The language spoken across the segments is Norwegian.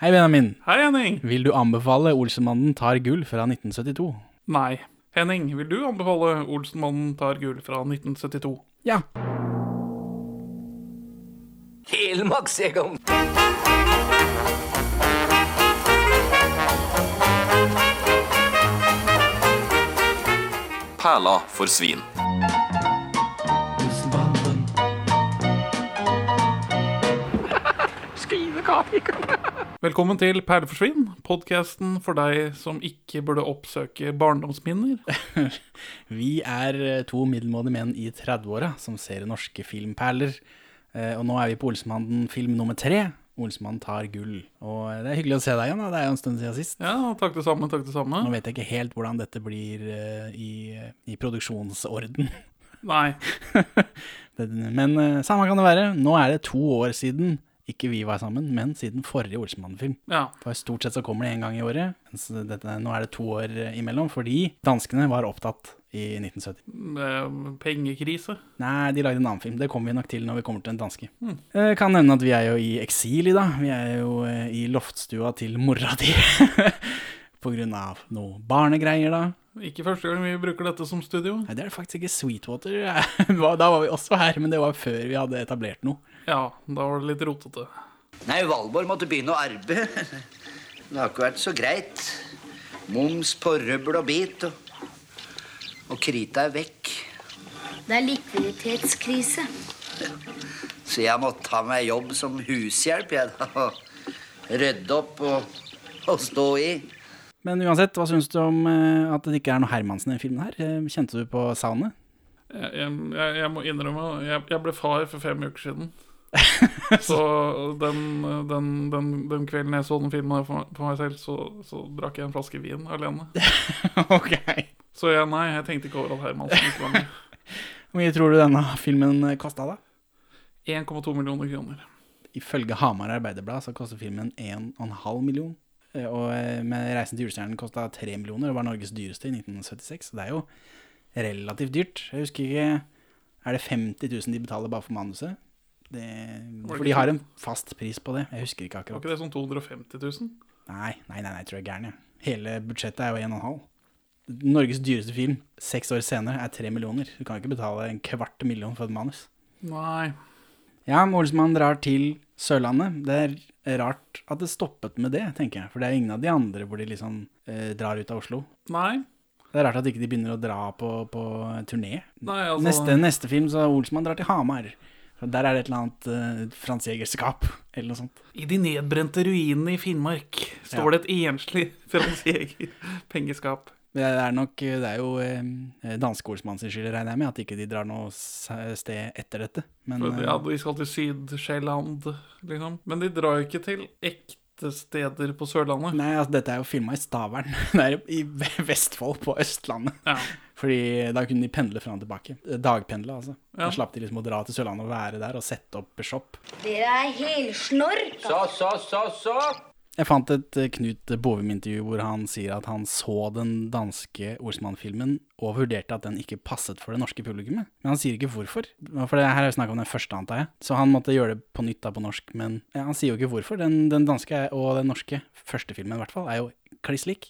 Hei, Benjamin. Hei, Henning. Vil du anbefale 'Olsenmannen tar gull' fra 1972? Nei. Henning, vil du anbefale 'Olsenmannen tar gull' fra 1972? Ja. Helmarksjegeren. Perla for svin. Velkommen til Perleforsvinn, podkasten for deg som ikke burde oppsøke barndomsminner. Vi er eh, to middelmådige menn i 30-åra som ser norske filmperler. Eh, Og nå er vi på Olsenmannen film nummer tre. 'Olsenmannen tar gull'. Og eh, det er hyggelig å se deg igjen. da. Det er jo en stund siden sist. Ja, takk det samme, takk det Nå samme. vet jeg ikke helt hvordan dette blir eh, i, i produksjonsorden. Nei. Det- Men eh, samme kan det være. Nå er det to år siden ikke vi var sammen, men siden forrige Olsenmannen-film. Ja. For stort sett så kommer det én gang i året. Mens dette, nå er det to år eh, imellom, fordi danskene var opptatt i 1970. eh, Pengekrise. Nei, de lagde en annen film. Det kommer vi nok til når vi kommer til den danske. Eh, Kan nevne at vi er jo i eksil i dag. Vi er jo eh, i loftstua til mora di. På grunn av noe barnegreier, da. Ikke første gang vi bruker dette som studio. Nei, det er det faktisk ikke. Sweetwater Da var vi også her, men det var før vi hadde etablert noe. Ja, da var det litt rotete. Nei, Valborg måtte begynne å arbeide. Det har ikke vært så greit. Moms på røbbel og bit. Og, og krita er vekk. Det er likviditetskrise. Så jeg måtte ta meg jobb som hushjelp, jeg da. og Rydde opp og, og stå i. Men uansett, hva syns du om eh, at det ikke er noe Hermansen i den filmen her? Eh, Kjente du på savnet? Jeg, jeg, jeg jeg må innrømme jeg, jeg ble far for fem uker siden. Så den, den, den, den kvelden jeg så den filmen her for, for meg selv, så, så drakk jeg en flaske vin alene. ok. Så jeg, nei, jeg tenkte ikke over at Hermansen ikke var med. Hvor mye tror du denne filmen kosta, da? 1,2 millioner kroner. Ifølge Hamar Arbeiderblad så koster filmen 1,5 million. Eh, Og eh, med Reisen til julestjernen kosta 3 millioner og var Norges dyreste i 1976. Så det er jo relativt dyrt. Jeg husker ikke Er det 50 000 de betaler bare for manuset? Det, det for ikke de har sånn? en fast pris på det. Jeg husker ikke Var akkurat. ikke det sånn 250 000? Nei, nei, nei, nei, tror jeg er gæren, jeg. Hele budsjettet er jo 1,5. Norges dyreste film, seks år senere, er 3 millioner. Du kan ikke betale en kvart million for et manus. Nei. Ja, Olsmann drar til Sørlandet. Det er rart at det stoppet med det, tenker jeg. For det er ingen av de andre hvor de liksom eh, drar ut av Oslo. Nei. Det er rart at ikke de begynner å dra på, på turné. Nei, altså Neste, neste film så Olsmann drar til Hamar. Og Der er det et eller annet eh, Frans Jegerskap eller noe sånt. I de nedbrente ruinene i Finnmark står Ja. det et enslig Frans Jeger pengeskap. Det er nok, det er jo eh, danske Olsmann sin skyld, regner jeg med, at ikke de drar noe s- sted etter dette. Men For, eh, ja, de skal til Sydsjælland, liksom. Men de drar jo ikke til ekte steder på Sørlandet. nei, altså, dette er jo filma i Stavern. Det er i Vestfold, på Østlandet. Ja. Fordi da kunne de pendle fram og tilbake. Dagpendle, altså. Ja. Da slapp de liksom å dra til Sørlandet og være der og sette opp shop. Dere er helsnork. Så, så, så, så. Jeg fant et eh, Knut Bovim-intervju hvor han sier at han så den danske Olsmann-filmen og vurderte at den ikke passet for det norske publikummet. Men han sier ikke hvorfor. For det her er jo snakk om den første, antar jeg. Så han måtte gjøre det på nytt da på norsk, men ja, han sier jo ikke hvorfor. Den, den danske er- og den norske første filmen i hvert fall er jo kliss lik.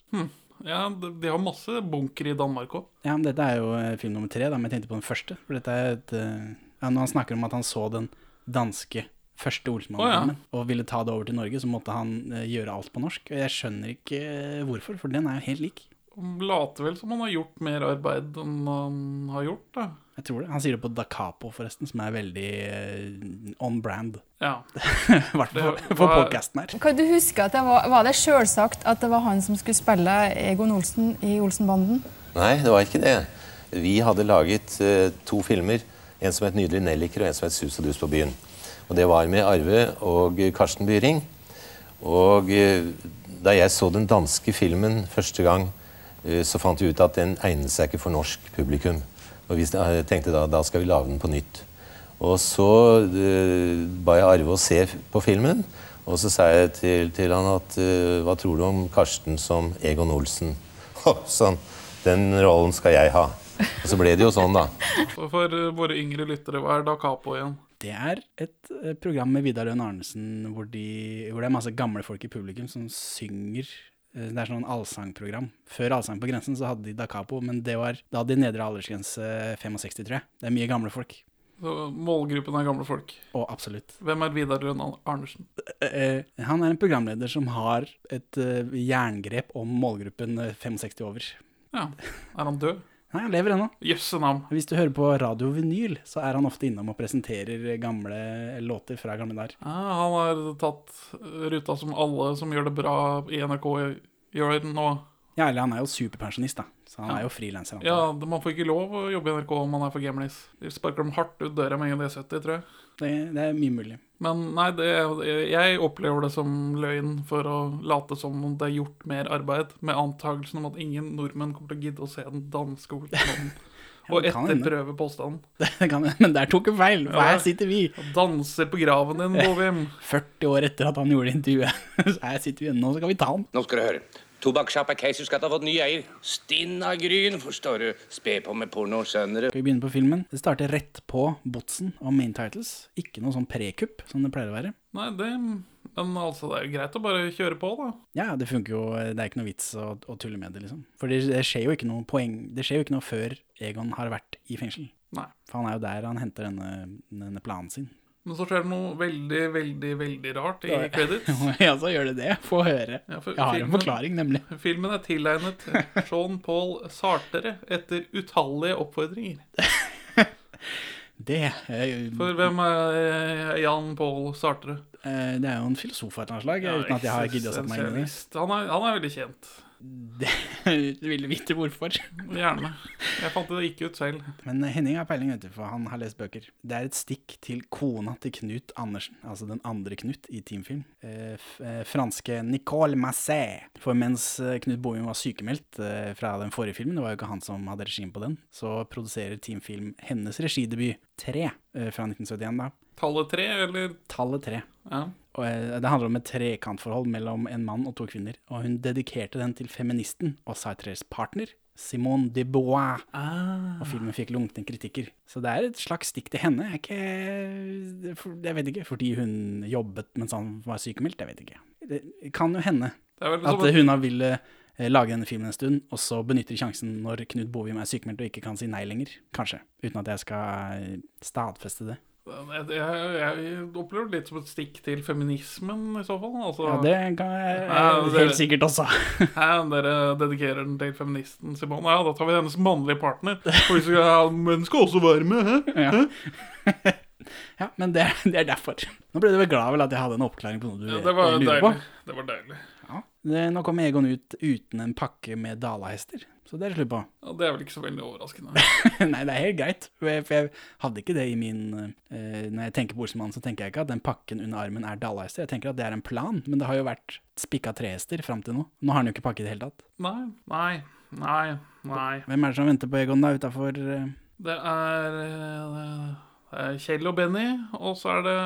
Ja, de, de har masse bunker i Danmark òg. Ja, men dette er jo eh, film nummer tre, da, men jeg tenkte på den første. For dette er et, eh, ja, Når han snakker om at han så den danske første Olsenmannen-filmen og ville ta det over til Norge, så måtte han eh, gjøre alt på norsk. Og jeg skjønner ikke eh, hvorfor, for den er jo helt lik. Later vel som han har gjort mer arbeid enn han har gjort, da. Jeg tror det. Han sier det på Da Capo, forresten, som er veldig eh, on brand. Ja. I hvert fall Det- for hva- podkasten her. Kan du huske at det var, var det selvsagt at det var han som skulle spille Egon Olsen i Olsenbanden? Nei, det var ikke det. Vi hadde laget eh, to filmer. En som het 'Nydelig nelliker' og en som het 'Sus og dus på byen'. Og Det var med Arve og Karsten Byring. Og eh, da jeg så den danske filmen første gang, eh, så fant vi ut at den egnet seg ikke for norsk publikum. Og vi eh, tenkte da da skal vi lage den på nytt. Og så eh, ba jeg Arve å se f- på filmen. Og så sa jeg til, til han at eh, hva tror du om Karsten som Egon Olsen? Hå, sånn. Den rollen skal jeg ha. Og så ble det jo sånn, da. eh, For, for våre yngre lyttere, hva er da Capo igjen? Det er et eh, program med Vidar Lønn Arnesen hvor, de, hvor det er masse gamle folk i publikum som synger. Eh, Det er sånn allsangprogram. Før Allsang på grensen så hadde de Da Capo, men det var, da hadde de nedre aldersgrense 65, tror jeg. Det er mye gamle folk. Så målgruppen er gamle folk. Og absolutt. Hvem er Vidar Lønn Arnesen? Eh, eh, han er en programleder som har et eh, jerngrep om målgruppen eh, 65 over. Ja, Er han død? Nei, han lever ennå. Jøsse navn. Hvis du hører på Radio Vinyl, så er han ofte innom og presenterer gamle låter fra gamle dager. Ja, han har tatt ruta som alle som gjør det bra i NRK, gjør nå. Ja, eller han er jo superpensjonist, da. Så han er jo frilanser. Ja, det- Man får ikke lov å jobbe i NRK om man er for gamlis. De sparker dem hardt ut døra med en D70, tror jeg. Det, det er mye mulig. Men nei, det, jeg opplever det som løgn for å late som om det er gjort mer arbeid, med antakelsen om at ingen nordmenn kommer til å gidde å se den danske hovedstaden. Og det kan hende. etterprøve påstanden. Det kan, men der tok hun feil, for Ja. her sitter vi, Danser på graven din, Bovim. 40 år etter at han gjorde intervjuet. Så her sitter vi ennå, så kan vi ta han. Nå skal du høre. Tobakkssjappa Keisersgata har fått ny eier. Stinna Gryn, forstår du. Spe på med porno, skjønner du. Skal vi begynne på filmen? Det starter rett på Botsen og Main Titles. Ikke noe sånn prekupp, som det pleier å være. Nei, det Men altså, det er jo greit å bare kjøre på, da. Ja, det funker jo, det er ikke noe vits å, å tulle med det, liksom. For det, det skjer jo ikke noe poeng, det skjer jo ikke noe før Egon har vært i fengsel. Nei. For han er jo der han henter denne, denne planen sin. Men så skjer det noe veldig, veldig, veldig rart i credits. ja, så gjør det det. Få høre. Ja, for Jeg har en filmen- forklaring, nemlig. Filmen er tilegnet Jean-Paul Sartre etter utallige oppfordringer. Det, eh, For hvem er Jan-Paul Sartre? eh, det er jo en filosof av et eller annet slag, uten at jeg har giddet å sette meg inn i det. Eksistensialist. Han er, han er veldig kjent. Du ville vite hvorfor. Gjerne. Jeg fant det ikke ut selv. Men Henning har peiling, vet du, for han har lest bøker. Det er et stikk til kona til Knut Andersen, altså den andre Knut i Teamfilm. Eh, f eh, franske Nicole Massé. For mens eh, Knut Bohum var sykemeldt eh, fra den forrige filmen, det var jo ikke han som hadde regien på den, så produserer Teamfilm hennes regidebut 3 eh, fra 1971, da. Tallet tre, eller Tallet 3. ja. Og eh, Det handler om et trekantforhold mellom en mann og to kvinner. Og hun dedikerte den til feministen og Sartres partner, Simone de Beauvoir. Ah. Og filmen fikk lunkne kritikker. Så det er et slags stikk til henne. Jeg, er ikke, for- jeg vet ikke, fordi hun jobbet mens han var sykemeldt? Jeg vet ikke. Det kan jo hende Det er vel at som en, hun har villet eh, lage denne filmen en stund, og så benytter de sjansen når Knut Bovim er sykemeldt og ikke kan si nei lenger. Kanskje. Uten at jeg skal eh, stadfeste det. jeg, jeg, jeg opplever det litt som et stikk til feminismen, i så fall. Altså, Ja, det kan jeg Ja, det- helt sikkert også. Hæ, dere dedikerer den til feministen Simone? Ja, da tar vi hennes mannlige partner. For vi skal, ja, menn skal også være med, hæ? Ja. ja, men det, det er derfor. Nå ble du vel glad vel at jeg hadde en oppklaring på noe du Ja, det var lurer deilig. Det var deilig. på? Ja. Det, nå kom Egon ut uten en pakke med dalahester, så det er det slutt på. Ja, det er vel ikke så veldig overraskende. Nei, det er helt greit, for jeg, for jeg hadde ikke det i min eh, Når jeg tenker på Olsenmannen, så tenker jeg ikke at den pakken under armen er dalahester. Jeg tenker at det er en plan, men det har jo vært spikka trehester fram til nå. Nå har han jo ikke pakke i det hele tatt. Nei, nei, nei, nei. Hvem er det som venter på Egon da utafor eh, Det er, eh, det er Kjell og Benny, og så er det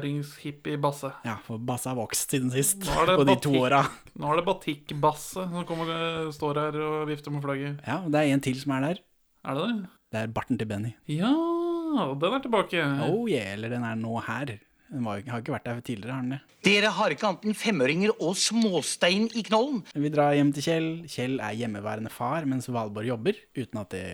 tenåringshippie-Basse. Ja, for Basse har vokst siden sist, Nå er det på de to batikk. åra. Nå er det Batikk-Basse som kommer, eh, står her og vifter med flagget. Ja, og det er en til som er der. Er det det? Det er barten til Benny. Ja, den er tilbake. Oh yeah, eller den er nå her. Den var, jo ikke- har ikke vært der tidligere, har den det? Dere har ikke annet enn femøringer og småstein i knollen. Vi drar hjem til Kjell. Kjell er hjemmeværende far mens Valborg jobber, uten at det,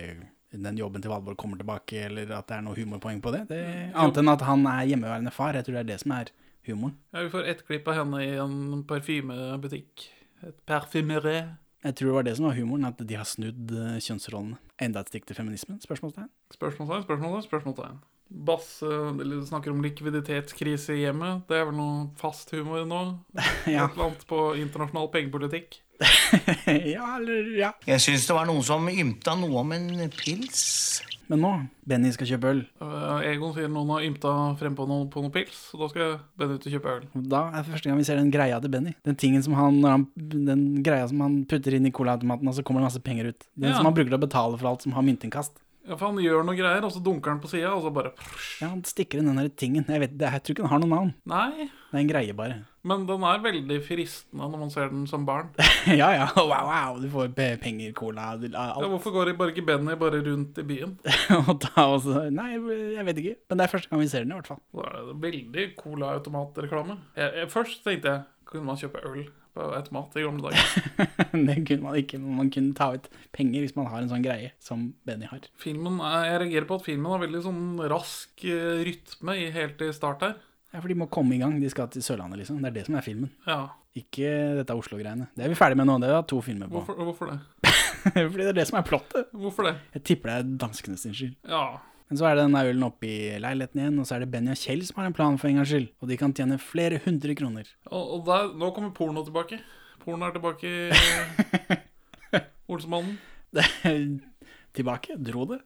den jobben til Valborg kommer tilbake, eller at det er noe humorpoeng på det. det annet enn at han er hjemmeværende far. Jeg tror det er det som er humoren. Ja, vi får ett klipp av henne i en parfymebutikk. Et parfymeré. Jeg tror det var det som var humoren, at de har snudd eh, kjønnsrollene. Enda et stikk til feminismen? Spørsmålstegn. Spørsmålstegn, spørsmålstegn, spørsmålstegn. Basse eller snakker om likviditetskrise i hjemmet. Det er vel noe fast humor nå? Ja. Et eller annet på internasjonal pengepolitikk. ja, eller ja. Jeg syns det var noen som ymta noe om en pils. Men nå, Benny skal kjøpe øl. Eh, Egon sier noen har ymta frempå noe, på noe pils, så da skal jeg bende ut og kjøpe øl. Og Da er det første gang vi ser den greia til Benny. Den tingen som han, når han, den greia som han putter inn i colaautomaten, og så kommer det masse penger ut. Den Ja. som han bruker til å betale for alt som har myntinnkast. Ja, for han gjør noe greier, og så dunker han på sida, og så bare Ja, han stikker inn den der tingen. Jeg, vet, det- jeg tror ikke den har noe navn. Nei. Det er en greie, bare. Men den er veldig fristende når man ser den som barn. ja, ja. Wow, wow. Du får pe- penger, cola, du- Ja, alt. hvorfor går bare ikke Benny bare rundt i byen? Og da også Nei, jeg vet ikke. Men det er første gang vi ser den, i hvert fall. Da er det veldig colaautomatreklame. Jeg- jeg- Først tenkte jeg kunne man kjøpe øl på automat i gamle dager. det kunne man ikke, men man kunne ta ut penger hvis man har en sånn greie som Benny har. Filmen, er- Jeg reagerer på at filmen har veldig sånn rask eh, rytme i, helt i start her. Ja, for de må komme i gang. De skal til Sørlandet, liksom. Det er det som er filmen. Ja, Ikke dette Oslo-greiene. Det er vi ferdig med nå. Det har vi hatt to filmer på. hvorfor, hvorfor det? Fordi det er det som er plottet. Hvorfor det? Jeg tipper det er danskene sin skyld. Ja. Men så er det denne ølen oppe i leiligheten igjen, og så er det Benny og Kjell som har en plan for en gangs skyld. Og de kan tjene flere hundre kroner. Og, og der, nå kommer porno tilbake. Porno er tilbake i eh, Olsemannen. Det- Tilbake. Dro det.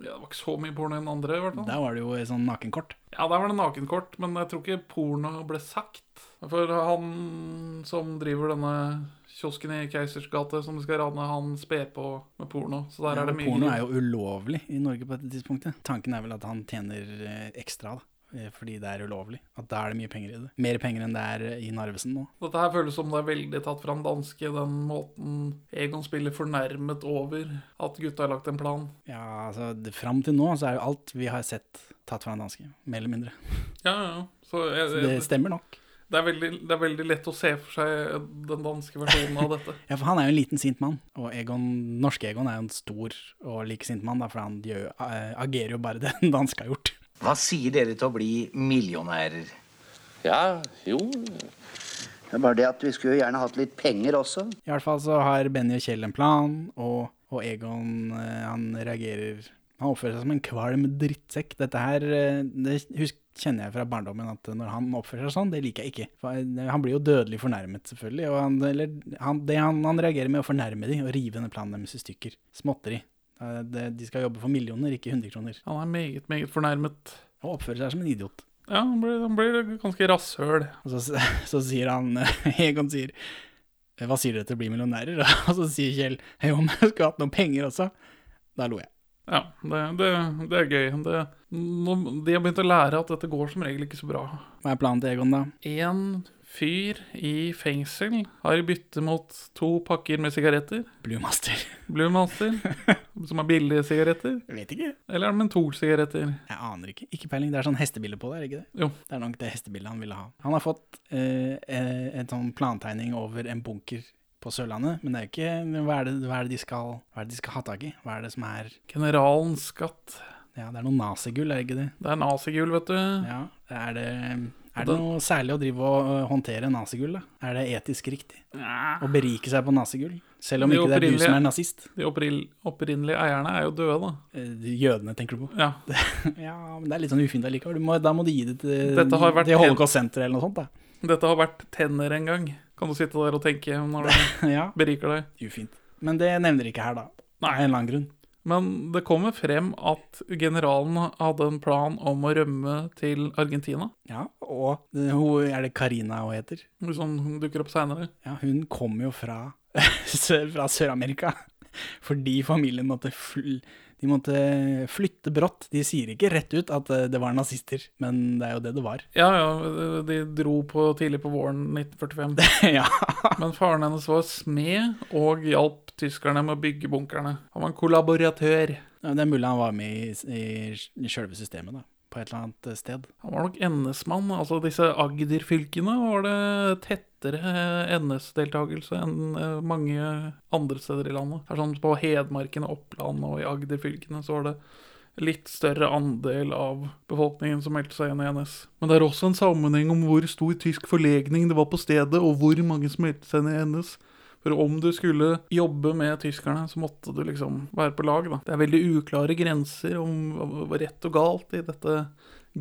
Ja, det var ikke så mye porno enn andre, i hvert fall. Der var det jo et sånn nakenkort. Ja, der var det nakenkort, men jeg tror ikke porno ble sagt. For han som driver denne kiosken i Keisers gate, som de skal rane, han sper på med porno. Så der er det mye Porno er jo ulovlig i Norge på dette tidspunktet. Tanken er vel at han tjener eh, ekstra, da. eh, Fordi det er ulovlig. At da er det mye penger i det. Mer penger enn det er eh, i Narvesen nå. Dette her føles som det er veldig tatt fra en danske, den måten Egon spiller fornærmet over at gutta har lagt en plan. Ja, altså det, Fram til nå så er jo alt vi har sett, tatt fra en danske. Mer eller mindre. Ja, ja, ja. Så jeg, Det jeg, stemmer nok. det, er veldig, det er veldig lett å se for seg den danske versjonen av dette. Ja, for Han er jo en liten sint mann, og Egon, norske Egon er jo en stor og like sint mann, da, for han gjør, jo- eh, agerer jo bare det den danske har gjort. Hva sier dere til å bli millionærer? Ja, jo Det er bare det at vi skulle jo gjerne hatt litt penger også. I hvert fall så har Benny og Kjell en plan, og, og Egon eh, han reagerer Han oppfører seg som en kvalm drittsekk. Dette her eh, det husk, kjenner jeg fra barndommen, at når han oppfører seg sånn, det liker jeg ikke. For eh, han blir jo dødelig fornærmet, selvfølgelig. Og han, eller, han, det han, han reagerer med å fornærme de og rive denne planen deres i stykker. Småtteri. Eh, det- De skal jobbe for millioner, ikke hundrekroner. Han er meget, meget fornærmet. Og oppfører seg som en idiot. Ja, han blir, han blir ganske rasshøl. Og så, så sier han Egon sier Hva sier dere til å bli millionærer? Og så sier Kjell «Hei, om jeg skulle hatt noen penger også. Da lo jeg. Ja, det, det, det er gøy. Det, nå, de har begynt å lære at dette går som regel ikke så bra. Hva er planen til Egon, da? En fyr i fengsel har i bytte mot to pakker med sigaretter, Blue Master. Blue Master, som er billige sigaretter, Jeg vet ikke. eller er det mentolsigaretter? Jeg aner ikke. Ikke peiling. Det er sånn hestebilde på det, er det ikke det? Jo. Det er nok det hestebildet han ville ha. Han har fått eh, eh, en sånn plantegning over en bunker på Sørlandet, men det er jo ikke men hva er, det, hva, er det de skal, hva er det de skal ha tak i? Hva er det som er Generalens skatt. Ja, det er noe nazigull, er det ikke det? Det er nazigull, vet du. Ja, er det, er det noe særlig å drive og øh, håndtere nazigull, da? Er det etisk riktig? Ja. Å berike seg på nazigull? Selv om Det er ikke det er du opprinnelig- som er nazist? De opprill- opprinnelige eierne er jo døde, da. Eh, de Jødene, tenker du på? Ja. Ja, men det er litt sånn ufint allikevel. Du må- Da må du gi det til, Dette har vært til Holocaust-senteret eller noe sånt, da. Dette har vært tenner en gang. Kan du sitte der og tenke når du Ja, beriker deg? ufint. Men det nevner de ikke her, da. Nei. Av en eller annen grunn. Men det kommer frem at generalen hadde en plan om å rømme til Argentina. Ja, og eh, hun, er det Karina hun heter? Som dukker opp seinere. Ja, hun kom jo fra, Sør- fra Sør-Amerika. Fordi familien måtte, fl de måtte flytte brått. De sier ikke rett ut at eh, det var nazister, men det er jo det det var. Ja, ja, de dro på tidlig på våren 1945. ja. Men faren hennes var smed og hjalp tyskerne med å bygge bunkerne. Han var en kollaboratør. Ja, Det er mulig han var med i, i, i sjølve systemet, da. På et eller annet eh, sted. Han var nok NS-mann. Altså disse Agder-fylkene var det tettere NS-deltakelse enn eh, mange andre steder i landet. Det er sånn På Hedmarken og Oppland og i Agder-fylkene så var det litt større andel av befolkningen som meldte seg inn i NS. Men det er også en sammenheng om hvor stor tysk forlegning det var på stedet, og hvor mange som meldte seg inn i NS. For om du skulle jobbe med tyskerne, så måtte du liksom være på lag, da. Det er veldig uklare grenser om hva- hva rett og galt i dette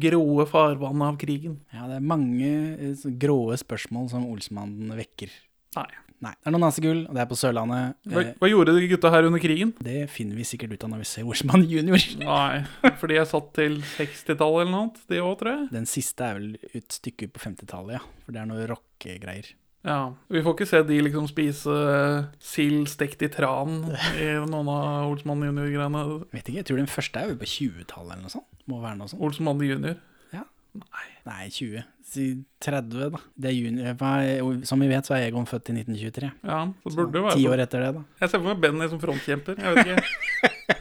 gråe farvannet av krigen. Ja, det er mange eh, så gråe spørsmål som Olsmannen vekker. Nei. Nei, det er noe nasegull, og det er på Sørlandet. Hva, Eh, hva gjorde de gutta her under krigen? det finner vi sikkert ut av når vi ser Olsmann junior. Nei, fordi jeg satt til 60-tallet eller noe annet, de òg, tror jeg. Den siste er vel et stykke ut på 50-tallet, ja. For det er noe rockegreier. Ja, Vi får ikke se de liksom spise eh, sild stekt i tran i noen av Olsmann junior-greiene. Vet ikke, jeg tror den første er jo på 20-tallet eller noe sånt. Må være noe sånt. Olsmann junior. Ja. Nei. Nei, 20. Si 30, da. Det er juni, hva- som vi vet, så er Egon født i 1923. Ja, så det burde jo Ti år være sånn. etter det, da. Jeg ser for meg Benny som frontkjemper. Jeg vet ikke.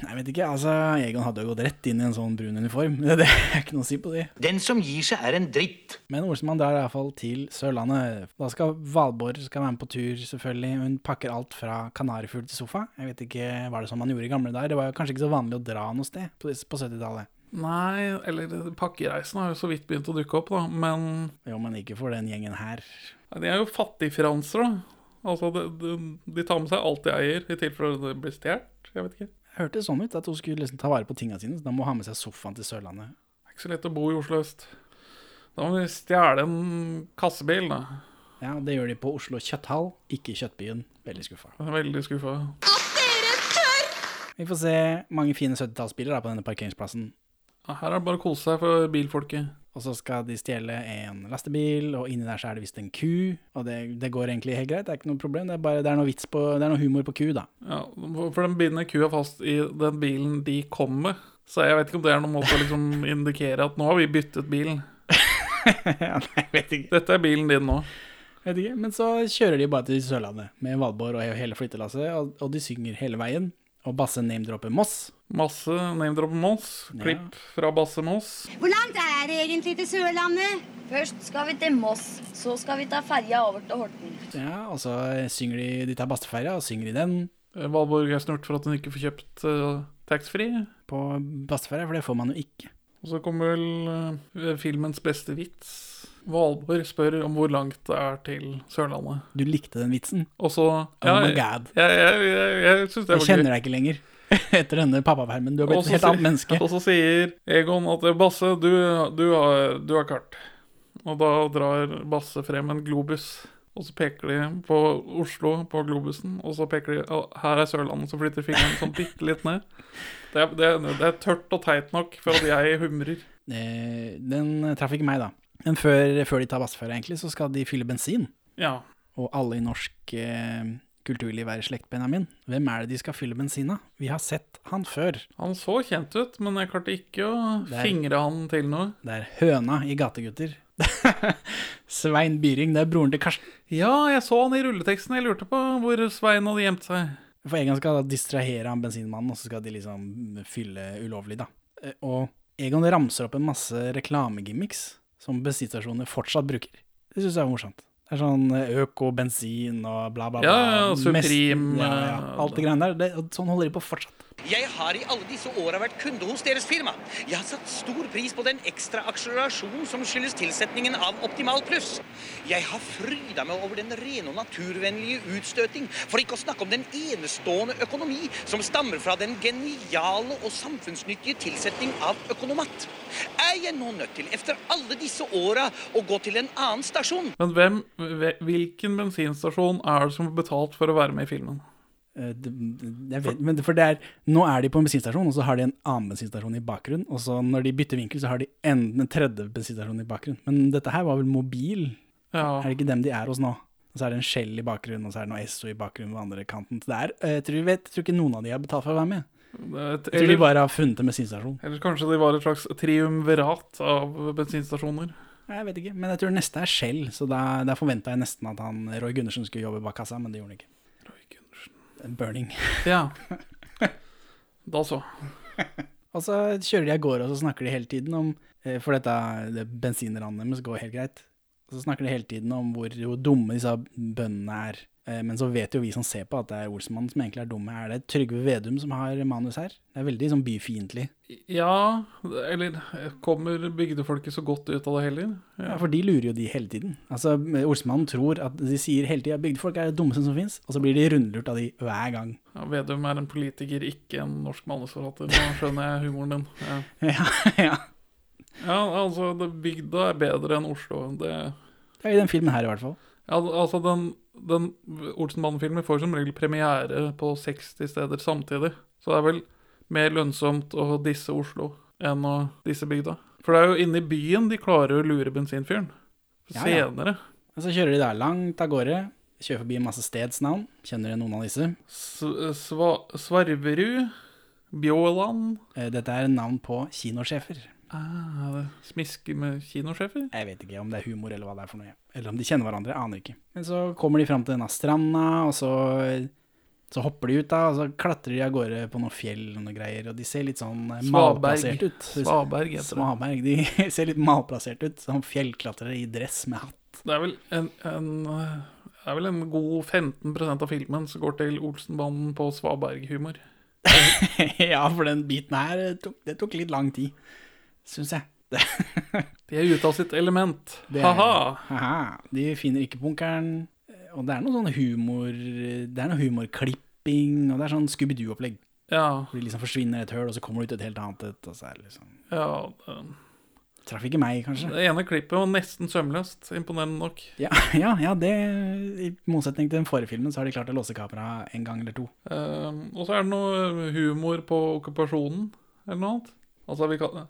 Nei, jeg vet ikke. Altså, Egon hadde jo gått rett inn i en sånn brun uniform. Det er ikke noe å si på det. Den som gir seg, er en dritt. Men Olsenmann drar i hvert fall til Sørlandet. Da skal Valborg skal være med på tur, selvfølgelig. Hun pakker alt fra kanarifugl til sofa. Jeg vet ikke hva det som man gjorde i gamle dager. Det var jo kanskje ikke så vanlig å dra noe sted på på 70-tallet. Nei, eller pakkereisen har jo så vidt begynt å dukke opp, da. Men Jo, men ikke for den gjengen her. de er jo fattigfranser, da. Altså, de, de, de tar med seg alt de eier, i tilfelle det blir stjålet. Jeg vet ikke. Det hørtes sånn ut, at hun skulle liksom ta vare på tinga sine, så da må hun ha med seg sofaen til Sørlandet. Det er ikke så lett å bo i Oslo øst. Da må vi stjele en kassebil, da. Ja, og det gjør de på Oslo Kjøtthall, ikke Kjøttbyen. Veldig skuffa. Jeg er veldig skuffa. Vi får se mange fine 70-tallsbiler da på denne parkeringsplassen. Her er det bare å kose seg for bilfolket. Og så skal de stjele en lastebil, og inni der så er det visst en ku. Og det, det går egentlig helt greit, det er ikke noe problem. Det er bare det er noe, vits på, det er noe humor på ku, da. Ja, for de binder kua fast i den bilen de kom med. Så jeg vet ikke om det er noen måte å liksom indikere at nå har vi byttet bil. ja, nei, jeg vet ikke. Dette er bilen din nå. Vet ikke. Men så kjører de bare til Sørlandet med Valborg og hele flyttelasset, og, og de synger hele veien. Og Basse name-dropper Moss. Masse name-drop Moss. Klipp fra Basse Moss. Hvor langt er det egentlig til Sørlandet? Først skal vi til Moss, så skal vi ta ferja over til Horten. Ja, og så synger de De tar Basseferja og synger i den Eh, Valborg er snurt for at hun ikke får kjøpt eh, taxfree. på Basseferja, for det får man jo ikke. Og så kommer vel eh, filmens beste vits. Valborg spør om hvor langt det er til Sørlandet. Du likte den vitsen. Og så Oh my god. Jeg, jeg, jeg, jeg syns det Jeg var gøy. kjenner deg ikke lenger etter denne pappapermen. Du har blitt Og så et helt sier- annet menneske. Og så sier Egon at Basse, du, du, har, du har kart. Og da drar Basse frem en globus. Og så peker de på Oslo på globusen, og så peker de «Å, Her er Sørlandet, så flytter fingeren sånn bitte litt ned. Det er, det, er, det er tørt og teit nok for at jeg humrer. Eh, den traff ikke meg, da. Men før, før de tar Basseferja, egentlig, så skal de fylle bensin. Ja. Og alle i norsk eh, kulturliv er i slekt, Benjamin. Hvem er det de skal fylle bensin av? Vi har sett han før. Han så kjent ut, men jeg klarte ikke å er- fingre han til noe. Det er høna i Gategutter. Svein Byring, det er broren til Karsten. Ja, jeg så han i rulleteksten. Jeg lurte på hvor Svein hadde gjemt seg. For Egon skal da distrahere han bensinmannen, og så skal de liksom fylle ulovlig, da. Eh, Og Egon ramser opp en masse reklamegimmicks som bensinstasjoner fortsatt bruker. Det syns jeg er morsomt. Det er sånn eh, øko, bensin og bla, bla, bla. Ja, ja, ja, Supreme, Mest- Ja, ja, alt det greiene der. Det, og sånn holder de på fortsatt. Jeg har i alle disse åra vært kunde hos deres firma. Jeg har satt stor pris på den ekstra akselerasjon som skyldes tilsetningen av Optimal Pluss. Jeg har fryda meg over den rene og naturvennlige utstøting, for ikke å snakke om den enestående økonomi som stammer fra den geniale og samfunnsnyttige tilsetning av Økonomat. Er jeg nå nødt til, efter alle disse åra, å gå til en annen stasjon? Men hvem, hve- hvilken bensinstasjon er det som har betalt for å være med i filmen? Eh, det- det- Jeg vet, men det- for det er, nå er de på en bensinstasjon, og så har de en annen bensinstasjon i bakgrunnen. Og så når de bytter vinkel, så har de enda en tredje bensinstasjon i bakgrunnen. Men dette her var vel mobil? Ja, Er det ikke dem de er hos nå? Og så er det en Shell i bakgrunnen, og så er det noe Esso i bakgrunnen ved andre kanten. Så det er, eh, jeg tror, jeg vet, jeg tror ikke noen av de har betalt for å være med. Jeg det- tror de eller, bare har funnet en bensinstasjon. eller kanskje de var et slags triumvirat av bensinstasjoner. Nei, Jeg vet ikke, men jeg tror neste er Shell, så da, der forventa jeg nesten at han Roy Gundersen skulle jobbe bak kassa, men det gjorde han ikke. Burning. Ja. Da så. Og så kjører de av gårde, og så snakker de hele tiden om eh, For dette det bensinranet deres går helt greit. Og så snakker de hele tiden om hvor, hvor dumme disse bøndene er. Eh, Men så vet jo vi som ser på at det er Olsenmannen som egentlig er dumme. Er det Trygve Vedum som har manus her? Det er veldig sånn byfiendtlig. Ja, eller kommer bygdefolket så godt ut av det heller? Ja, Ja. for de lurer jo de hele tiden. Altså, Olsmannen tror at de sier hele tida bygdefolk er det dummeste som fins, og så blir de rundlurt av de hver gang. Ja, Vedum er en politiker, ikke en norsk manusforfatter. Nå skjønner jeg humoren din. Ja, ja, ja. ja altså, det, bygda er bedre enn Oslo. Det, Det er i den filmen her, i hvert fall. ja, altså, den, den Olsenbanen-filmen får som regel premiere på 60 steder samtidig. Så det er vel mer lønnsomt å disse Oslo enn å disse bygda. For det er jo inne i byen de klarer å lure bensinfyren. Ja, ja. Senere. Og så kjører de der langt av gårde. Kjører forbi masse stedsnavn. Kjenner dere noen av disse? Sva Svarverud. Bjåland. Eh, Dette er navn på kinosjefer. Ah, det smiske med kinosjefer? Jeg vet ikke om det er humor eller hva det er for noe. Eller om de kjenner hverandre, jeg aner ikke. Men så kommer de fram til denne stranda, og så, så hopper de ut da, og så klatrer de av gårde på noen fjell og noe greier, og de ser litt sånn eh, Svaberg. malplassert ut. Svaberg heter det. Svaberg, de ser litt malplassert ut, som fjellklatrere i dress med hatt. Det er vel en, en eh, det er vel en god 15 av filmen som går til Olsenbanden på svaberghumor. ja, for den biten her eh, tok, det tok litt lang tid, syns jeg. De er ute av sitt element. Det er- Ha-ha! Haha. De finner ikke bunkeren. Og det er noe sånn humor Det er noe humorklipping, og det er sånn Scooby-Doo-opplegg. Ja. Hvor de liksom forsvinner i et høl, og så kommer de ut et helt annet et. Og så er det liksom Ja, det- Traff ikke meg, kanskje. det ene klippet var nesten sømløst, imponerende nok. Ja, ja, ja, det I motsetning til den forrige filmen, så har de klart å låse kameraet en gang eller to. Ehm, og så er det noe humor på okkupasjonen, eller noe annet. Altså, vi kan,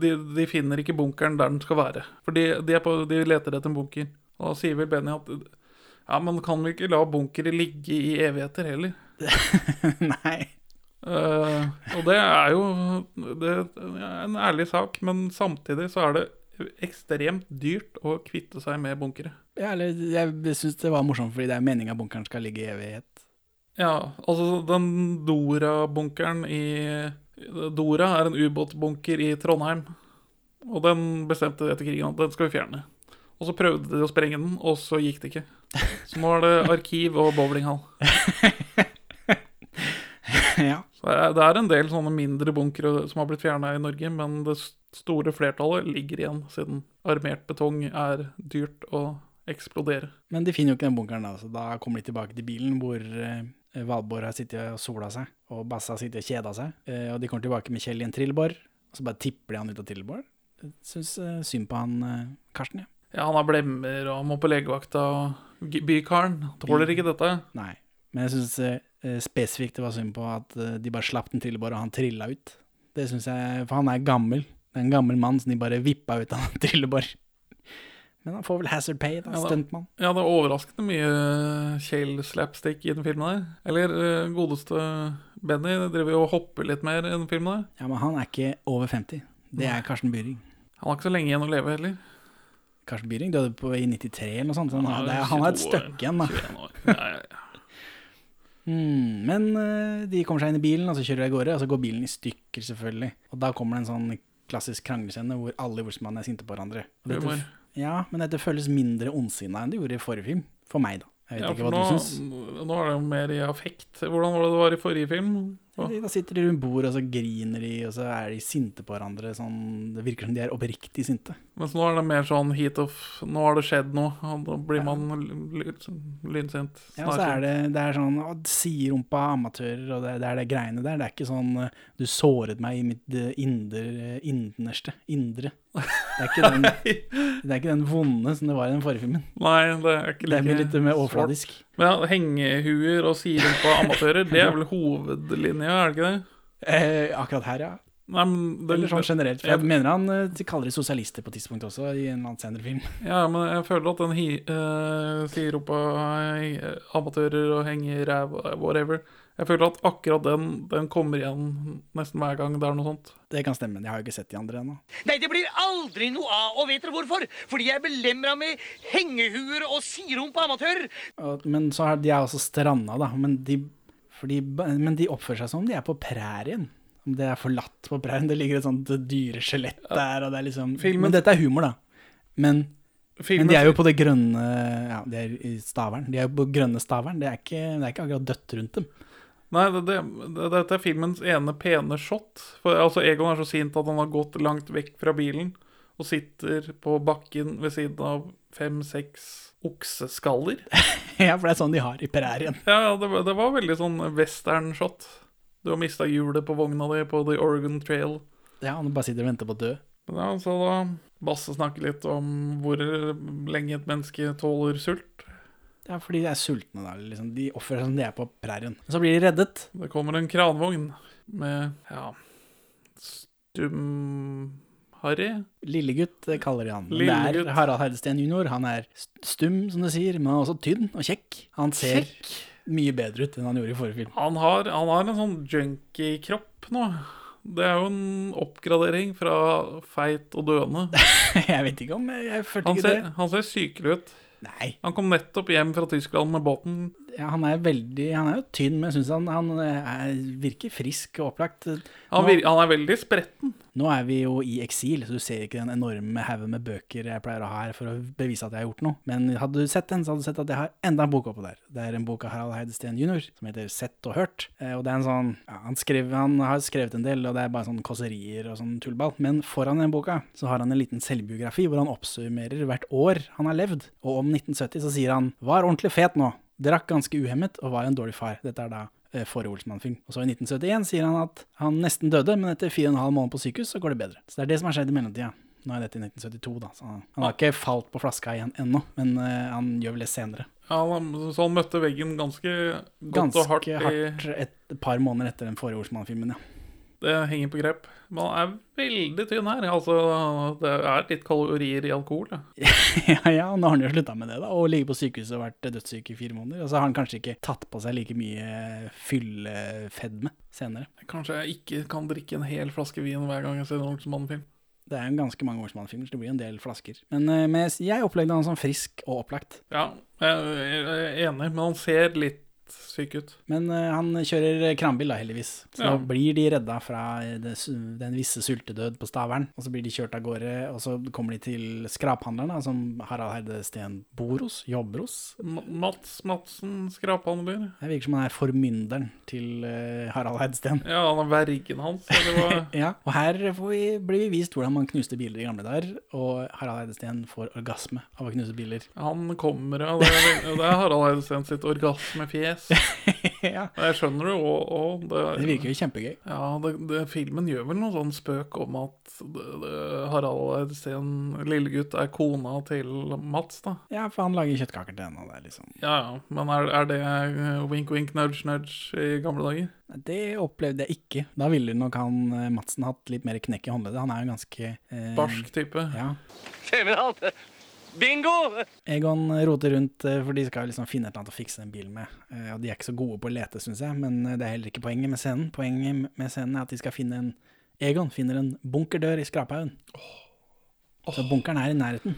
de, de finner ikke bunkeren der den skal være. For de, de, er på, de leter etter en bunker. Og da sier vel Benny at ja, men kan vi ikke la bunkere ligge i evigheter heller? Nei. Eh, og det er jo det er en ærlig sak, men samtidig så er det ekstremt dyrt å kvitte seg med bunkere. Ja, eller jeg syns det var morsomt, fordi det er meninga bunkeren skal ligge i evighet. Ja, altså den Dora-bunkeren i Dora er en ubåtbunker i Trondheim. Og den bestemte etter krigen at den skal vi fjerne. Og så prøvde de å sprenge den, og så gikk det ikke. Så nå er det arkiv og bowlinghall. ja. Så det er- det er en del sånne mindre bunkere som har blitt fjerna i Norge, men det s- store flertallet ligger igjen, siden armert betong er dyrt å eksplodere. Men de finner jo ikke den bunkeren, da, så da kommer de tilbake til bilen hvor eh, Valborg har sittet og sola seg, og Basse har sittet og kjeda seg. Eh, og de kommer tilbake med Kjell i en trillebår, og så bare tipper de han ut av trillebår. Jeg Syns eh, synd på han eh, Karsten, ja. Ja, han har blemmer og må på legevakta, og g- bykaren tåler ikke dette. Nei. Men jeg syns spesifikt det var synd på at eh, de bare slapp den trillebår, og han trilla ut. Det syns jeg For han er gammel. Det er en gammel mann som de bare vippa ut av en trillebår. Men han får vel hazard pay, da. Ja da. Stuntmann. Ja, det er overraskende mye Kjell-slapstick i den filmen der. Eller eh, godeste Benny driver jo og hopper litt mer i den filmen der. Ja, men han er ikke over 50. Det er Karsten Byring. Han har ikke så lenge igjen å leve heller. Karsten Byring døde på, i 93 eller noe sånt. så Han, har- det er, han har et 22 år, stykke igjen, da. 21 år. Ja, ja, ja. Mm, men eh, de kommer seg inn i bilen, og så kjører de av gårde. Og så går bilen i stykker, selvfølgelig. Og da kommer det en sånn klassisk kranglescene hvor alle ordsmannene er sinte på hverandre. Og dette- Humor. ja, men dette føles mindre ondsinna enn det gjorde i forrige film. For meg, da. Jeg vet Ja, ikke for hva nå, du syns. nå er det jo mer i affekt. Hvordan var det det var i forrige film? Hva? Da sitter de rundt bordet, og så griner de, og så er de sinte på hverandre. Sånn, det virker som de er oppriktig sinte. Mens nå er det mer sånn heat of Nå har det skjedd noe, og da blir man l- l- lynsint. Ja, og så er det, det er sånn å, siderumpa amatører, og det, det er det greiene der. Det er ikke sånn eh, du såret meg i mitt eh, inder, innerste indre. Det er, ikke den, det er ikke den vonde som det var i den forrige filmen. Nei, det er ikke Det er mye like litt mer svart. overfladisk. Men ja, hengehuer og sider på amatører, det er vel hovedlinja, er det ikke det? Eh, akkurat her, ja. Nei, men det, Eller sånn generelt. For jeg- jeg mener han eh, de kaller de sosialister på et tidspunkt også, i en eller annen senere film. Ja, men jeg føler at den hi, eh, sier opp av eh, amatører og henger i ræv og whatever Jeg føler at akkurat den, den kommer igjen nesten hver gang det er noe sånt. Det kan stemme, jeg har jo ikke sett de andre ennå. Nei, det blir aldri noe av, og vet dere hvorfor? Fordi jeg er belemra med hengehuer og siderumpa amatører. Og- Men så er de er også stranda, da. Men de, fordi, men de oppfører seg som om de er på prærien. Om det er forlatt på prærien. Det ligger et sånt dyreskjelett der, og det er liksom Filmen- Men dette er humor, da. Men, men Filmen, de er jo på det grønne Ja, de er i Stavern. De er jo på grønne Stavern. Det er ikke, det er ikke akkurat dødt rundt dem. Nei, det, det, det, dette er filmens ene pene shot. For altså, Egon er så sint at han har gått langt vekk fra bilen og sitter på bakken ved siden av fem-seks okseskaller. ja, for det er sånn de har i prærien. Ja, det, var- det var veldig sånn western-shot. Du har mista hjulet på vogna di på The Oregon Trail. Ja, han bare sitter og venter på å dø. Men Ja, så da Basse snakker litt om hvor lenge et menneske tåler sult. Ja, fordi de er sultne, da. Liksom. De oppfører seg som de er på prærien. Så blir de reddet. Det kommer en kranvogn med ja stumharmonikk Harry. Lillegutt eh, kaller de han. Men det Lillegutt. er Harald Heidesteen jr. Han er st- stum, som du sier, men han er også tynn og kjekk. Han ser mye bedre ut enn han gjorde i forrige film. Han har, han har en sånn junkie-kropp nå. Det er jo en oppgradering fra feit og døende. Jeg vet ikke om jeg, jeg følte Han ikke ser, han ser sykelig ut. Nei. Han kom nettopp hjem fra Tyskland med båten. det. Ja, han er veldig Han er jo tynn, men jeg syns han, han eh, er, virker frisk og opplagt. Han, Nå- vir, han er veldig spretten. Nå er vi jo i eksil, så du ser ikke den enorme haugen med bøker jeg pleier å ha her for å bevise at jeg har gjort noe. Men hadde du sett den, så hadde du sett at jeg har enda en bok oppå der. Det er en bok av Harald Heidesteen jr. som heter Sett og hørt. Eh, Og det er en sånn ja, han, skrev, han har skrevet en del, og det er bare sånn kåserier og sånn tullball. Men foran den boka så har han en liten selvbiografi hvor han oppsummerer hvert år han har levd. Og om 1970 så sier han 'var ordentlig fet nå', drakk ganske uhemmet og var en dårlig far. Dette er da eh, forrige Olsmann-film. Og så i 1971 sier han at han nesten døde, men etter fire og en halv måned på sykehus så går det bedre. Så det er det som har skjedd i mellomtida. Nå er dette i 1972, da, så han har ikke falt på flaska igjen ennå, men eh, han gjør vel det senere. Ja, han, så han møtte veggen ganske godt Ganske og hardt. hardt, I, et par måneder etter den forrige Olsmann-filmen, ja. det henger på grep. Men han er veldig tynn her. Altså, det er litt kalorier i alkohol. da. ja, ja, nå har han jo slutta med det, da, og ligget på sykehuset og vært dødssyk i fire måneder. Og så har han kanskje ikke tatt på seg like mye fyllefedme senere. Kanskje jeg ikke kan drikke en hel flaske vin hver gang jeg ser en Olsenmann-film. Det er jo ganske mange Olsmann-filmer, så det blir jo en del flasker. Men eh, men jeg opplevde han som frisk og opplagt. Ja, jeg jeg er enig, men han ser litt syk ut. Men eh, han kjører kranbil da, heldigvis. Så Ja. da blir de redda fra eh, det, su- den visse sultedød på Stavern. Og så blir de kjørt av gårde, og så kommer de til skraphandleren, da, som Harald Heide Steen bor hos, jobber hos. Ma- Mats Madsen, skraphandler. Det virker som han er formynderen til eh, Harald Heide Steen. Ja, han er vergen hans. Eller hva? Ja, og her får vi, blir vi vist hvordan man knuste biler i gamle dager, og Harald Heide Steen får orgasme av å knuse biler. Han kommer av det, er- det er Harald Heidesen sitt orgasmefjes. ja, Og Jeg skjønner det, og, og det virker jo kjempegøy. Ja, det, det, filmen gjør vel noe sånn spøk om at det, det, Harald Eidsten, lillegutt, er kona til Mats, da. Ja, for han lager kjøttkaker til henne, og det er liksom Ja, ja, men er, er det eh, wink, wink, nudge, nudge i gamle dager? Nei, Det opplevde jeg ikke. Da ville nok han eh, Madsen hatt litt mer knekk i håndleddet. Han er jo ganske eh, Barsk type. Ja. Feminalt. Bingo! Egon roter rundt, eh, for de skal jo liksom finne et eller annet å fikse den bilen med. Eh, Og de er ikke så gode på å lete, syns jeg, men eh, det er heller ikke poenget med scenen. Poenget med scenen er at de skal finne en Egon finner en bunkerdør i skraphaugen. Så bunkeren er i nærheten.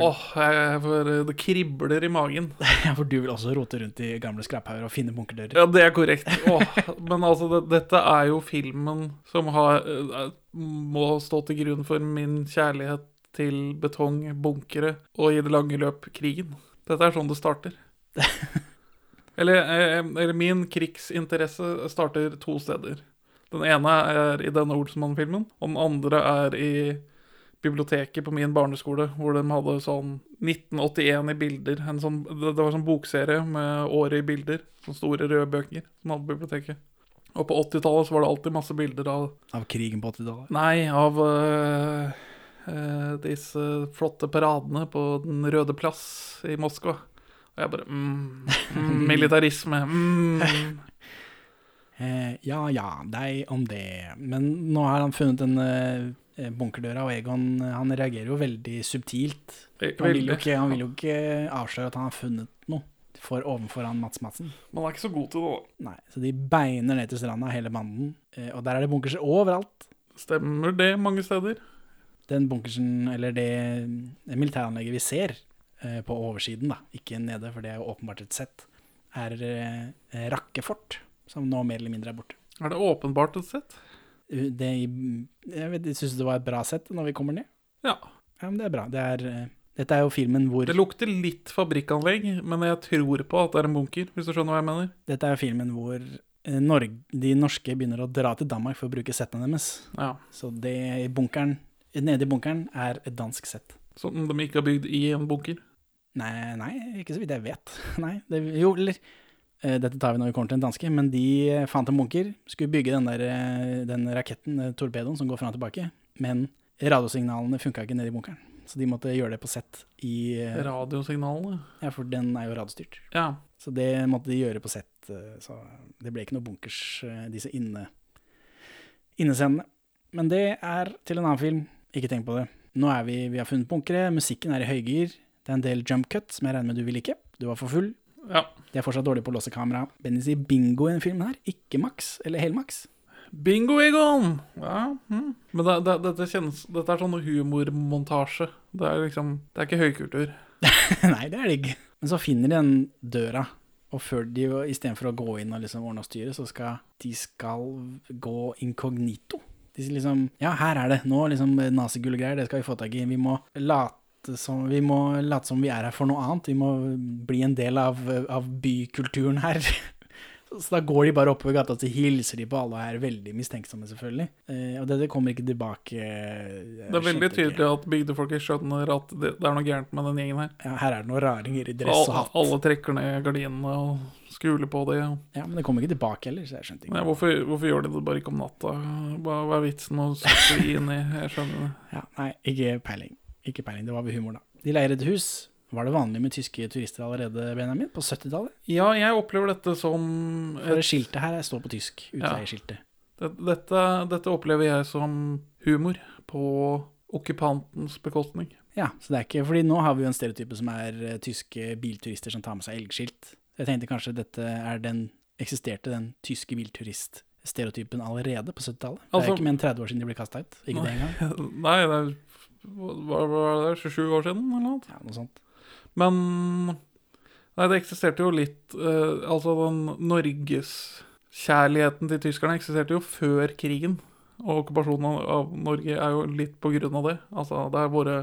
Åh, jeg får, det kribler i magen. Ja, For du vil også rote rundt i gamle skraphauger og finne bunkerdører. Ja, det er korrekt. Åh, men altså, det, dette er jo filmen som har, eh, må stå til grunn for min kjærlighet til betong, bunkere og i det lange løp krigen. Dette er sånn det starter. Eller, eh, eller min krigsinteresse starter to steder. Den ene er i denne Olsenmann-filmen, og den andre er i biblioteket på min barneskole, hvor de hadde sånn 1981 i bilder. En sånn, det, det var sånn bokserie med året i bilder. Sånne store røde bøker som hadde på biblioteket. Og på 80-tallet så var det alltid masse bilder av Av krigen på 80 dollar. Nei, av øh, øh, disse flotte paradene på Den røde plass i Moskva. Og jeg bare mm, mm, Militarisme. Mm. Eh, ja ja, deg om det. Men nå har han funnet den eh, bunkerdøra, og Egon eh, han reagerer jo veldig subtilt Han vil, jo Veldig. ikke, han vil jo ikke avsløre at han har funnet noe for overfor han Mats Madsen. Man er ikke så god til det, da. Nei, Så de beiner ned til stranda, hele banden. Eh, Og der er det bunkers overalt. Stemmer det mange steder? Den bunkersen, eller det det militæranlegget vi ser eh, på oversiden, da, ikke nede, for det er jo åpenbart et sett, er eh, Rakkefort, som nå mer eller mindre er borte. Er det åpenbart et sett? Uh, Det, jeg vet- jeg syns det var et bra sett når vi kommer ned. Ja. Ja, men det er bra. Det er, eh, dette er jo filmen hvor Det lukter litt fabrikkanlegg, men jeg tror på at det er en bunker, hvis du skjønner hva jeg mener. Dette er filmen hvor eh, Norge, de norske begynner å dra til Danmark for å bruke settene deres. Ja. Så det i bunkeren, nede i bunkeren er et dansk sett. sånn Som de ikke har bygd i en bunker. Nei, nei, ikke så vidt jeg vet. Nei, det, jo, eller eh, Dette tar vi når vi kommer til den danske, men de eh, fant en bunker. Skulle bygge den, der, eh, den raketten, eh, torpedoen, som går fram og tilbake. Men radiosignalene funka ikke nede i bunkeren. Så de måtte gjøre det på sett i eh, Radiosignalene. Ja, for den er jo radiostyrt. Ja. Så det måtte de gjøre på sett. eh, Så det ble ikke noe bunkers, eh, disse inne, innescenene. Men det er til en annen film. Ikke tenk på det. Nå er vi, vi har funnet bunkere, musikken er i høygir. Det er en del jump cut som jeg regner med du vil like. Du var for full. Ja. De er fortsatt dårlige på å låse kamera. Benny sier bingo i den filmen her, ikke maks, eller helmaks. Bingo Egon! Ja, mm. Men det, det, dette, kjennes, dette er sånn humormontasje. Det er liksom Det er ikke høykultur. Nei, det er det ikke. Men så finner de den døra, og før de, istedenfor å gå inn og liksom ordne og styre, så skal de skal gå inkognito. De sier liksom Ja, her er det. Nå liksom nazigullgreier, det skal vi få tak i. Vi må late som vi, må late som vi er her for noe annet. Vi må bli en del av, av bykulturen her. Så da går de bare oppover gata og hilser de på alle og er veldig mistenksomme, selvfølgelig. Eh, og dette kommer ikke tilbake. eh, Det er veldig tydelig at bygdefolket skjønner at det, det er noe gærent med den gjengen her. Ja, her er det noen raringer i dress og Al- hatt. Alle trekker ned gardinene og skuler på det. Ja, Men det kommer ikke tilbake heller, så jeg skjønte Nei, ikke. hvorfor, hvorfor gjør de det bare ikke om natta? Hva, hva er vitsen med å sette inn i Jeg skjønner det. Ja, nei, ikke peiling. Ikke peiling, Det var ved humor, da. De leier et hus. Var det vanlig med tyske turister allerede, Benjamin? På 70-tallet? Ja, jeg opplever dette som For et, det skiltet her står på tysk. Utleieskiltet. det- dette, dette opplever jeg som humor på okkupantens bekostning. Ja, så det er ikke Fordi nå har vi jo en stereotype som er eh, tyske bilturister som tar med seg elgskilt. Jeg tenkte kanskje dette er den Eksisterte den tyske bilturiststereotypen allerede på 70-tallet? det Altså- er ikke mer enn 30 år siden de ble kasta ut. Ikke det engang. Nei, det er hva, hva er det, 27 år siden, eller noe? Ja, noe sånt. Men Nei, det eksisterte jo litt eh, Altså, den norgeskjærligheten til tyskerne eksisterte jo før krigen. Og okkupasjonen av- av Norge er jo litt på grunn av det. Altså, det er våre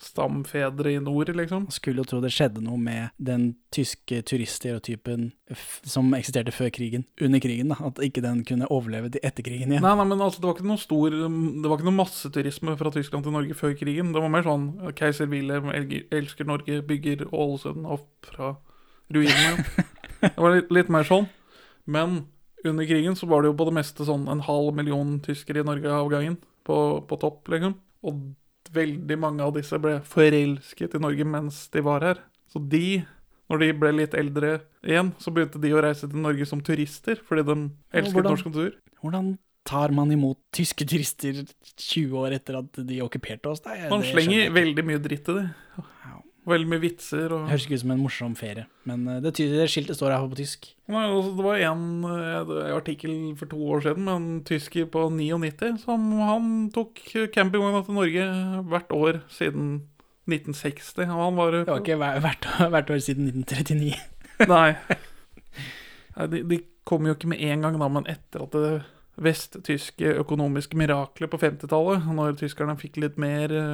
stamfedre i nord, Man liksom. skulle jo tro det skjedde noe med den tyske turiststereotypen f som eksisterte før krigen, under krigen, da. At ikke den kunne overleve til etter krigen igjen. Nei, nei, men altså, det var ikke noe stor Det var ikke noe masseturisme fra Tyskland til Norge før krigen. Det var mer sånn eh, Keiser Wilhelm elger- elsker Norge, bygger Ålesund opp fra ruinene. Det var litt, litt mer sånn. Men under krigen så var det jo på det meste sånn en halv million tyskere i Norge av gangen. På, på topp, liksom. Og veldig mange av disse ble forelsket i Norge mens de var her. Så de, når de ble litt eldre igjen, så begynte de å reise til Norge som turister, fordi de elsket hvordan- norsk kultur. Hvordan tar man imot tyske turister 20 år etter at de okkuperte oss? Nei, Han det skjønner jeg slenger ikke. veldig mye dritt i det. Veldig mye vitser og Det Høres ikke ut som en morsom ferie, men eh, det, ty- det skiltet står her på tysk. Nei, altså, Det var en eh, artikkel for to år siden med en tysker på 99 som han tok campingvogna til Norge hvert år siden 1960. Og han var Det var ikke hver- hvert, år- hvert år siden 1939. Nei. Nei, De, de kom jo ikke med en gang, da, men etter at det vesttyske økonomiske miraklet på 50-tallet, når tyskerne fikk litt mer eh,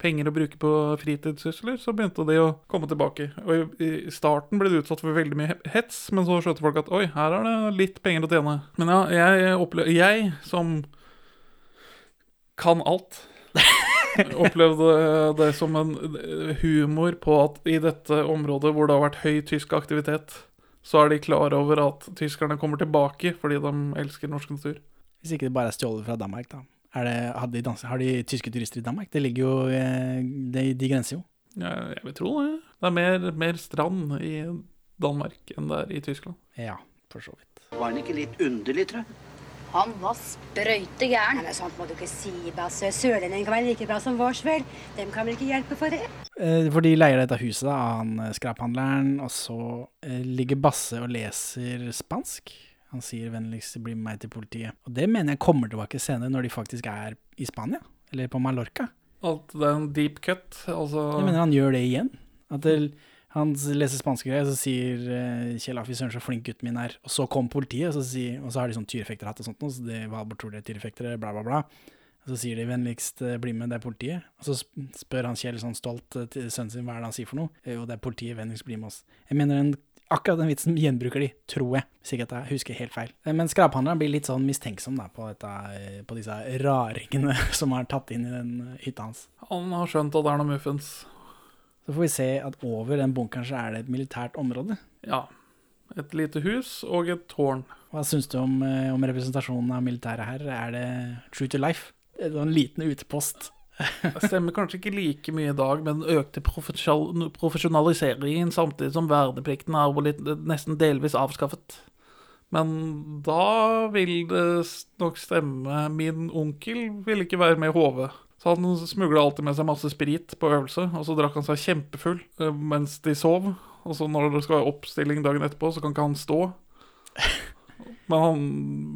penger å bruke på fritidssysler, så begynte de å komme tilbake. Og i, I starten ble de utsatt for veldig mye he- hets, men så skjønte folk at oi, her er det litt penger å tjene. Men ja, jeg, opple jeg som kan alt opplevde eh, det som en eh, humor på at i dette området hvor det har vært høy tysk aktivitet, så er de klar over at tyskerne kommer tilbake fordi de elsker norsk kultur. Hvis ikke det bare er stjålet fra Danmark, da. Er det, hadde de dans- har de tyske turister i Danmark? Det ligger jo, eh, de, de grenser jo. Jeg, jeg vil tro det. Det er mer, mer strand i Danmark enn det er i Tyskland. Ja, for så vidt. Var han ikke litt underlig, tror jeg? Han var sprøytegæren. Nei, men sånt må du ikke si, Basse. Sørlendingen kan være like bra som vårs, vel. Dem kan vel ikke hjelpe for det? Eh, For de leier dette huset da, av han eh, skraphandleren, og så eh, ligger Basse og leser spansk. Han sier vennligst 'bli med meg til politiet'. Og det mener jeg kommer tilbake senere, når de faktisk er i Spania, eller på Mallorca. At det er en deep cut, altså Jeg mener han gjør det igjen. At det, han s- leser spanske greier, så sier eh, Kjell Affi Søren så flink gutten min er. Og så kom politiet, og så, sier, og så har de sånn tyrefekterhatt og sånt, noe, så det, hva tror dere er tyrefektere, bla, bla, bla. Og så sier de vennligst eh, bli med, det er politiet. Og så sp- spør han Kjell sånn stolt eh, til sønnen sin hva er det han sier for noe. Eh, Jo, det er politiet, vennligst bli med oss. Jeg mener den, akkurat den vitsen gjenbruker de, tror jeg. Sikkert jeg husker helt feil. Eh, Men skraphandleren blir litt sånn mistenksom da, på, dette, eh, på disse raringene som er tatt inn i den eh, hytta hans. Han har skjønt at det er noe muffens. Så får vi se at over den bunkeren så er det et militært område. Ja. Et lite hus og et tårn. Hva syns du om, eh, om representasjonen av militæret her? Er det true to life? Det er En liten utepost. Det stemmer kanskje ikke like mye i dag med den økte profesjal- profesjonaliseringen, samtidig som verneplikten er jo litt, nesten delvis avskaffet. Men da vil det s- nok stemme. Min onkel ville ikke være med i HV. Så han smugla alltid med seg masse sprit på øvelse, og så drakk han seg kjempefull eh, mens de sov. Og så når det skal være oppstilling dagen etterpå, så kan ikke han stå. Men, han,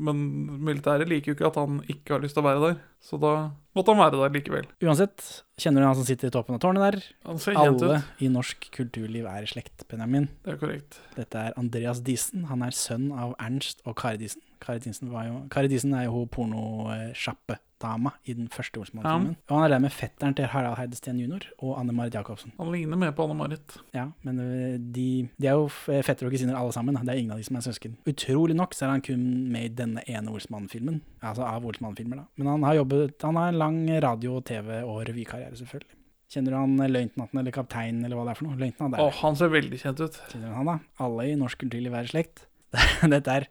men militæret liker jo ikke at han ikke har lyst til å være der, så da måtte han være der likevel. Uansett, kjenner du han som sitter i toppen av tårnet der? Han ser kjent Alle ut. i norsk kulturliv er i slekt, Benjamin. Det er korrekt. Dette er Andreas Diesen. Han er sønn av Ernst og Kari Diesen. Kari Diesen, var jo, Kari Diesen er jo hun pornosjappedama i den første Olsmann-filmen. Og han er der med fetteren til Harald Heidesteen jr. og Anne Marit Jacobsen. Han ligner mer på Anne-Marit. Ja, men ø, de, de er jo f- øh, fettere og kusiner alle sammen. da. Det er ingen av de som er søsken. Utrolig nok så er han kun med i denne ene Olsmann-filmen. Altså av Olsmann-filmer, da. Men han har jobbet Han har en lang radio-, TV- og revykarriere, selvfølgelig. Kjenner du han ø, løytnanten eller kapteinen eller hva det er for noe? Løytnant er Å, han ser veldig kjent ut. Kjenner du han da? Alle i norsk kulturliv er i slekt. Dette er,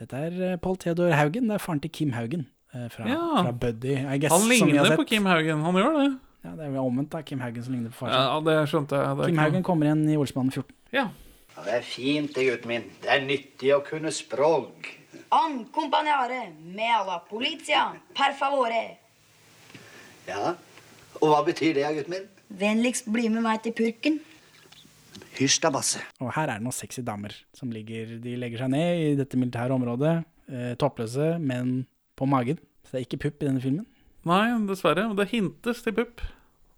dette er eh, Paul Theodor Haugen, det er faren til Kim Haugen. eh, Fra, Ja. fra Buddy, I guess. Han som vi har ligner sett. på Kim Haugen, han gjør det. Ja, det er vel omvendt, da. Kim Haugen som ligner på faren sin. Ja, det skjønte jeg. Det er Kim ikke Haugen kommer igjen i Olsmannen 14. Ja, det er fint, det, gutten min. Det er nyttig å kunne språk. Accompagnare me alla polizia, per favore. Ja. Og hva betyr det, gutten min? Vennligst bli med meg til purken. Hysj da, Basse. Og her er det noen sexy damer som ligger De legger seg ned i dette militære området. Eh, toppløse, men på magen. Så det er ikke pupp i denne filmen. Nei, dessverre. Det hintes til pupp,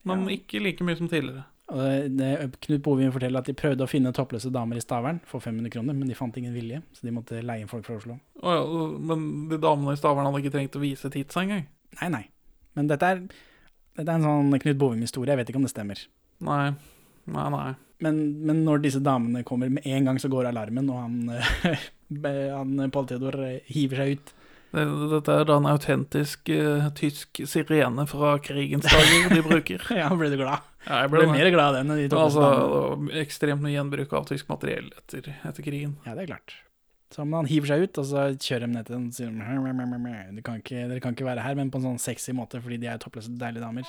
men ikke like mye som tidligere. Og det, det, Knut Bovin forteller at de prøvde å finne toppløse damer i Stavern for 500 kroner, men de fant ingen vilje, så de måtte leie inn folk fra Oslo. Å ja, men de damene i Stavern hadde ikke trengt å vise titsa engang. Nei, nei. Men dette er, dette er en sånn Knut Bovim-historie, jeg vet ikke om det stemmer. Nei. Nei, nei. Men, men når disse damene kommer, med en gang så går alarmen, og han, eh, han Paul Theodor eh, hiver seg ut. Det- Dette er da en autentisk eh, tysk sirene fra krigens dager de bruker. Ja, han ble du glad. Ja, jeg Ble mer glad av den enn de to altså, første damene. det var Ekstremt mye gjenbruk av tysk materiell etter, etter krigen. Ja, det er klart. Så men han hiver seg ut, og så kjører de ned til den og sier "Mæ, mæ, mæ, mæ, mæ. du kan ikke, Dere kan ikke være her, men på en sånn sexy måte, fordi de er toppløse, deilige damer.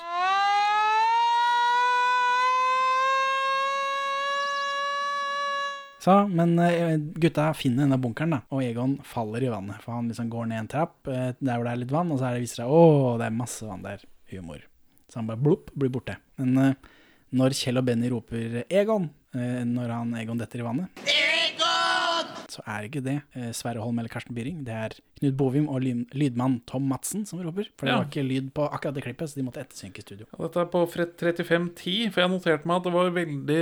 Så, men eh, gutta finner denne bunkeren, da, og Egon faller i vannet. For han liksom går ned en trapp eh, der hvor det er litt vann, og så er det viser det seg å, det er masse vann der. Humor. Så han bare blopp, blir borte. Men eh, når Kjell og Benny roper Egon, eh, når han Egon detter i vannet, så er ikke det eh, Sverre Holm eller Karsten Byring. Det er Knut Bovim og lyn- lydmann Tom Madsen som roper. For det Ja. var ikke lyd på akkurat det klippet, så de måtte ettersynke i studio. Ja, Dette er på fre- 3510, for jeg noterte meg at det var veldig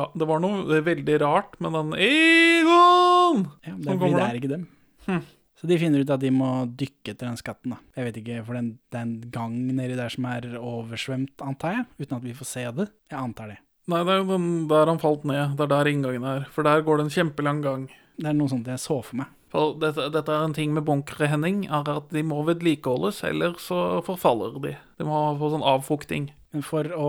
ra Det var noe veldig rart med den Egon! Ja, som det, er fordi kommer det da. er ikke dem. Hm. Så de finner ut at de må dykke etter den skatten, da. Jeg vet ikke, for den, det er en gang nedi der som er oversvømt, antar jeg. Uten at vi får se det. Jeg antar det. Nei, det er jo den der han falt ned. Det er der inngangen er. For der går det en kjempelang gang. Det er noe sånt jeg så for meg. For dette, dette er en ting med bunkere, Henning, er at de må vedlikeholdes, ellers så forfaller de. De må få sånn avfukting. Men for å,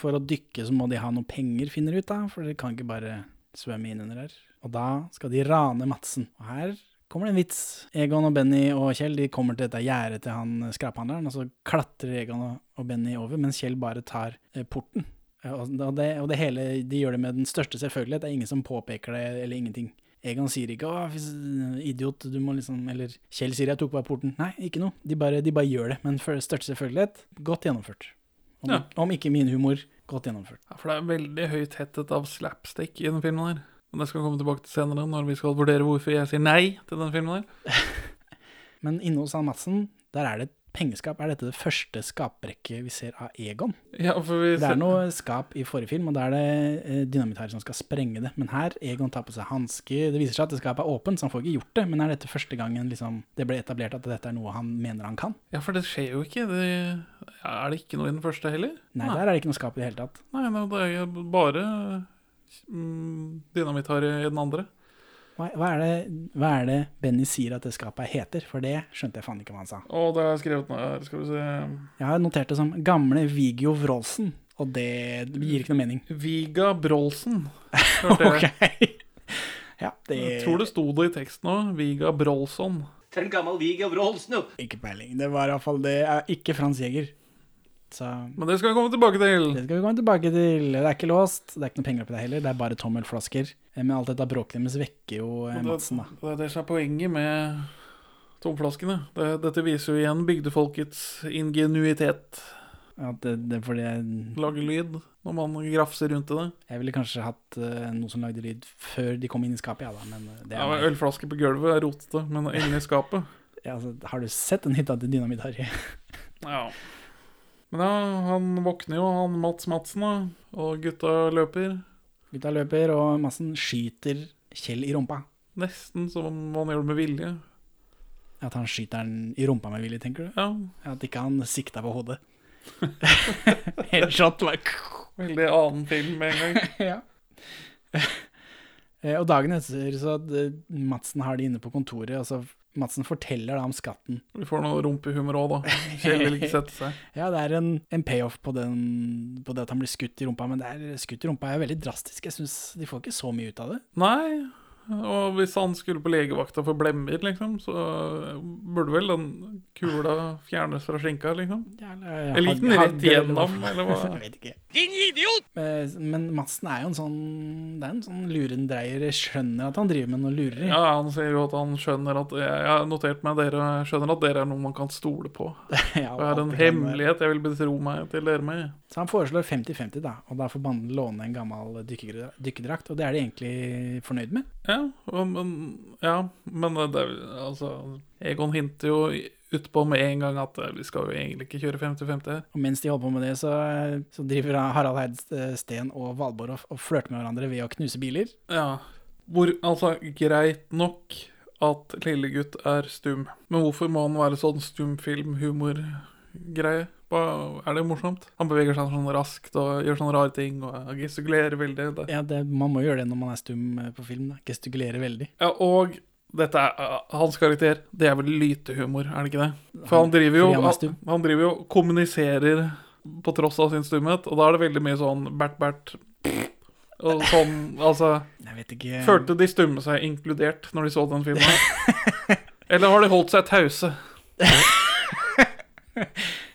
for å dykke så må de ha noe penger, finner de ut da, for de kan ikke bare svømme inn under her. Og da skal de rane Madsen. Og her kommer det en vits. Egon og Benny og Kjell de kommer til dette gjerdet til han eh, skraphandleren, og så klatrer Egon og- og Benny over, mens Kjell bare tar eh, porten. Eh, Og og det, og det hele, de gjør det med den største selvfølgelighet, det er ingen som påpeker det, eller ingenting. Egon sier ikke 'Å, fis- idiot, du må liksom Eller Kjell sier 'jeg tok bare porten'. Nei, ikke noe. De bare, de bare gjør det. Men for største selvfølgelighet, godt gjennomført. Om, Ja. om ikke min humor, godt gjennomført. Ja, For det er veldig høyt hettet av slapstick i den filmen her. Men det skal jeg komme tilbake til senere, når vi skal vurdere hvorfor jeg sier nei til den filmen her. Men inne hos han Madsen, der er det et pengeskap. Er dette det første skapbrekket vi ser av Egon? Ja, for vi Det er noe skap i forrige film, og da er det eh, dynamitthærer som skal sprenge det. Men her, Egon tar på seg hansker. Det viser seg at det skapet er åpent, så han får ikke gjort det. Men er dette første gangen liksom, det ble etablert at dette er noe han mener han kan? Ja, for det skjer jo ikke. Det, er det ikke noe i den første heller? Nei, der er det ikke noe skap i det hele tatt. Nei, nei, det er jo bare mm, dynamittharry i den andre. Hva, hva, er det, hva er det Benny sier at det skapet heter? For det skjønte jeg faen ikke hva han sa. Å, det har jeg skrevet nå her. Skal vi se Jeg har notert det som 'gamle Viggo Wroldsen', og det gir ikke noe mening. Viga Brolsen. Hørte jeg. Ja, det jeg tror det sto det i teksten òg. Viga Brolson. Ikke peiling. Det var iallfall det. Er ikke Frans Jæger. Så Men det skal vi komme tilbake til. Det skal vi komme tilbake til. Det er ikke låst, det er ikke noe penger oppi det heller, det er bare tommelflasker. Eh, Men alt dette bråket deres vekker jo eh, Og det- Madsen, da. Det er det som er poenget med tomflaskene. Det, dette viser jo igjen bygdefolkets ingenuitet. At det, det er fordi jeg, Lage lyd når man grafser rundt i det. jeg ville kanskje hatt eh, noe som lagde lyd før de kom inn i skapet, ja da, men eh, det Ja, men er Ølflasker på gulvet er rotete, men inni skapet ja, altså, Har du sett den hytta til Dynamitt, Harry? Ja. Men ja, han våkner jo, han Mats Madsen, da. Og gutta løper. Gutta løper, og Madsen skyter Kjell i rumpa. Nesten som om han gjør det med vilje. At han skyter den i rumpa med vilje, tenker du? Ja, At ikke han sikta på hodet. Headshot, like. Veldig annen film med en gang. ja. Eh, Og dagen etter så at eh, Madsen har de inne på kontoret, og så Madsen forteller da om skatten. Vi får noe rumpehumor òg, da. Kjell vil ikke sette seg. Ja, det er en, en payoff på, den, på det at han blir skutt i rumpa, men det er, skutt i rumpa er jo veldig drastisk. Jeg synes de får ikke så mye ut av det. Nei, og hvis han skulle på legevakta for blemmer, liksom, så burde vel den kula fjernes fra skinka, liksom. Eller gikk den rett gjennom, eller hva? Jeg vet ikke. Din idiot! Eh, Men Madsen er jo en sånn, det er en sånn lurendreier. Jeg skjønner at han driver med noe lureri. Ja, han sier jo at han skjønner at Jeg har notert meg dere og jeg skjønner at dere er noe man kan stole på. Ja, Og jeg har alt en det kan være. hemmelighet jeg vil betro meg til dere med. Så han foreslår 50-50, da, og da får banden låne en gammel dykkergra- dykkerdrakt. Og det er de egentlig fornøyd med. Ja, og- men, ja, men det er, vel- altså Egon hinter jo utpå med en gang at eh, vi skal jo egentlig ikke kjøre 50-50 her. Og mens de holder på med det, så, så driver Harald Eid Steen og Valborg og, og flørter med hverandre ved å knuse biler. Ja. Hvor, altså, greit nok at lillegutt er stum, men hvorfor må han være sånn stumfilm-humor-greie? Hva- Er det morsomt? Han beveger seg sånn raskt og gjør sånne rare ting og eh, gestikulerer veldig. Det. Ja, det, Man må gjøre det når man er stum eh, på film. da. Gestikulerer veldig. Ja, og dette er, eh, hans karakter, det er vel lytehumor, er det ikke det? For han driver jo Fordi han er han, stum. han driver jo og kommuniserer på tross av sin stumhet, og da er det veldig mye sånn bert-bert og sånn, altså Jeg vet ikke Følte de stumme seg inkludert når de så den filmen? Eller har de holdt seg tause?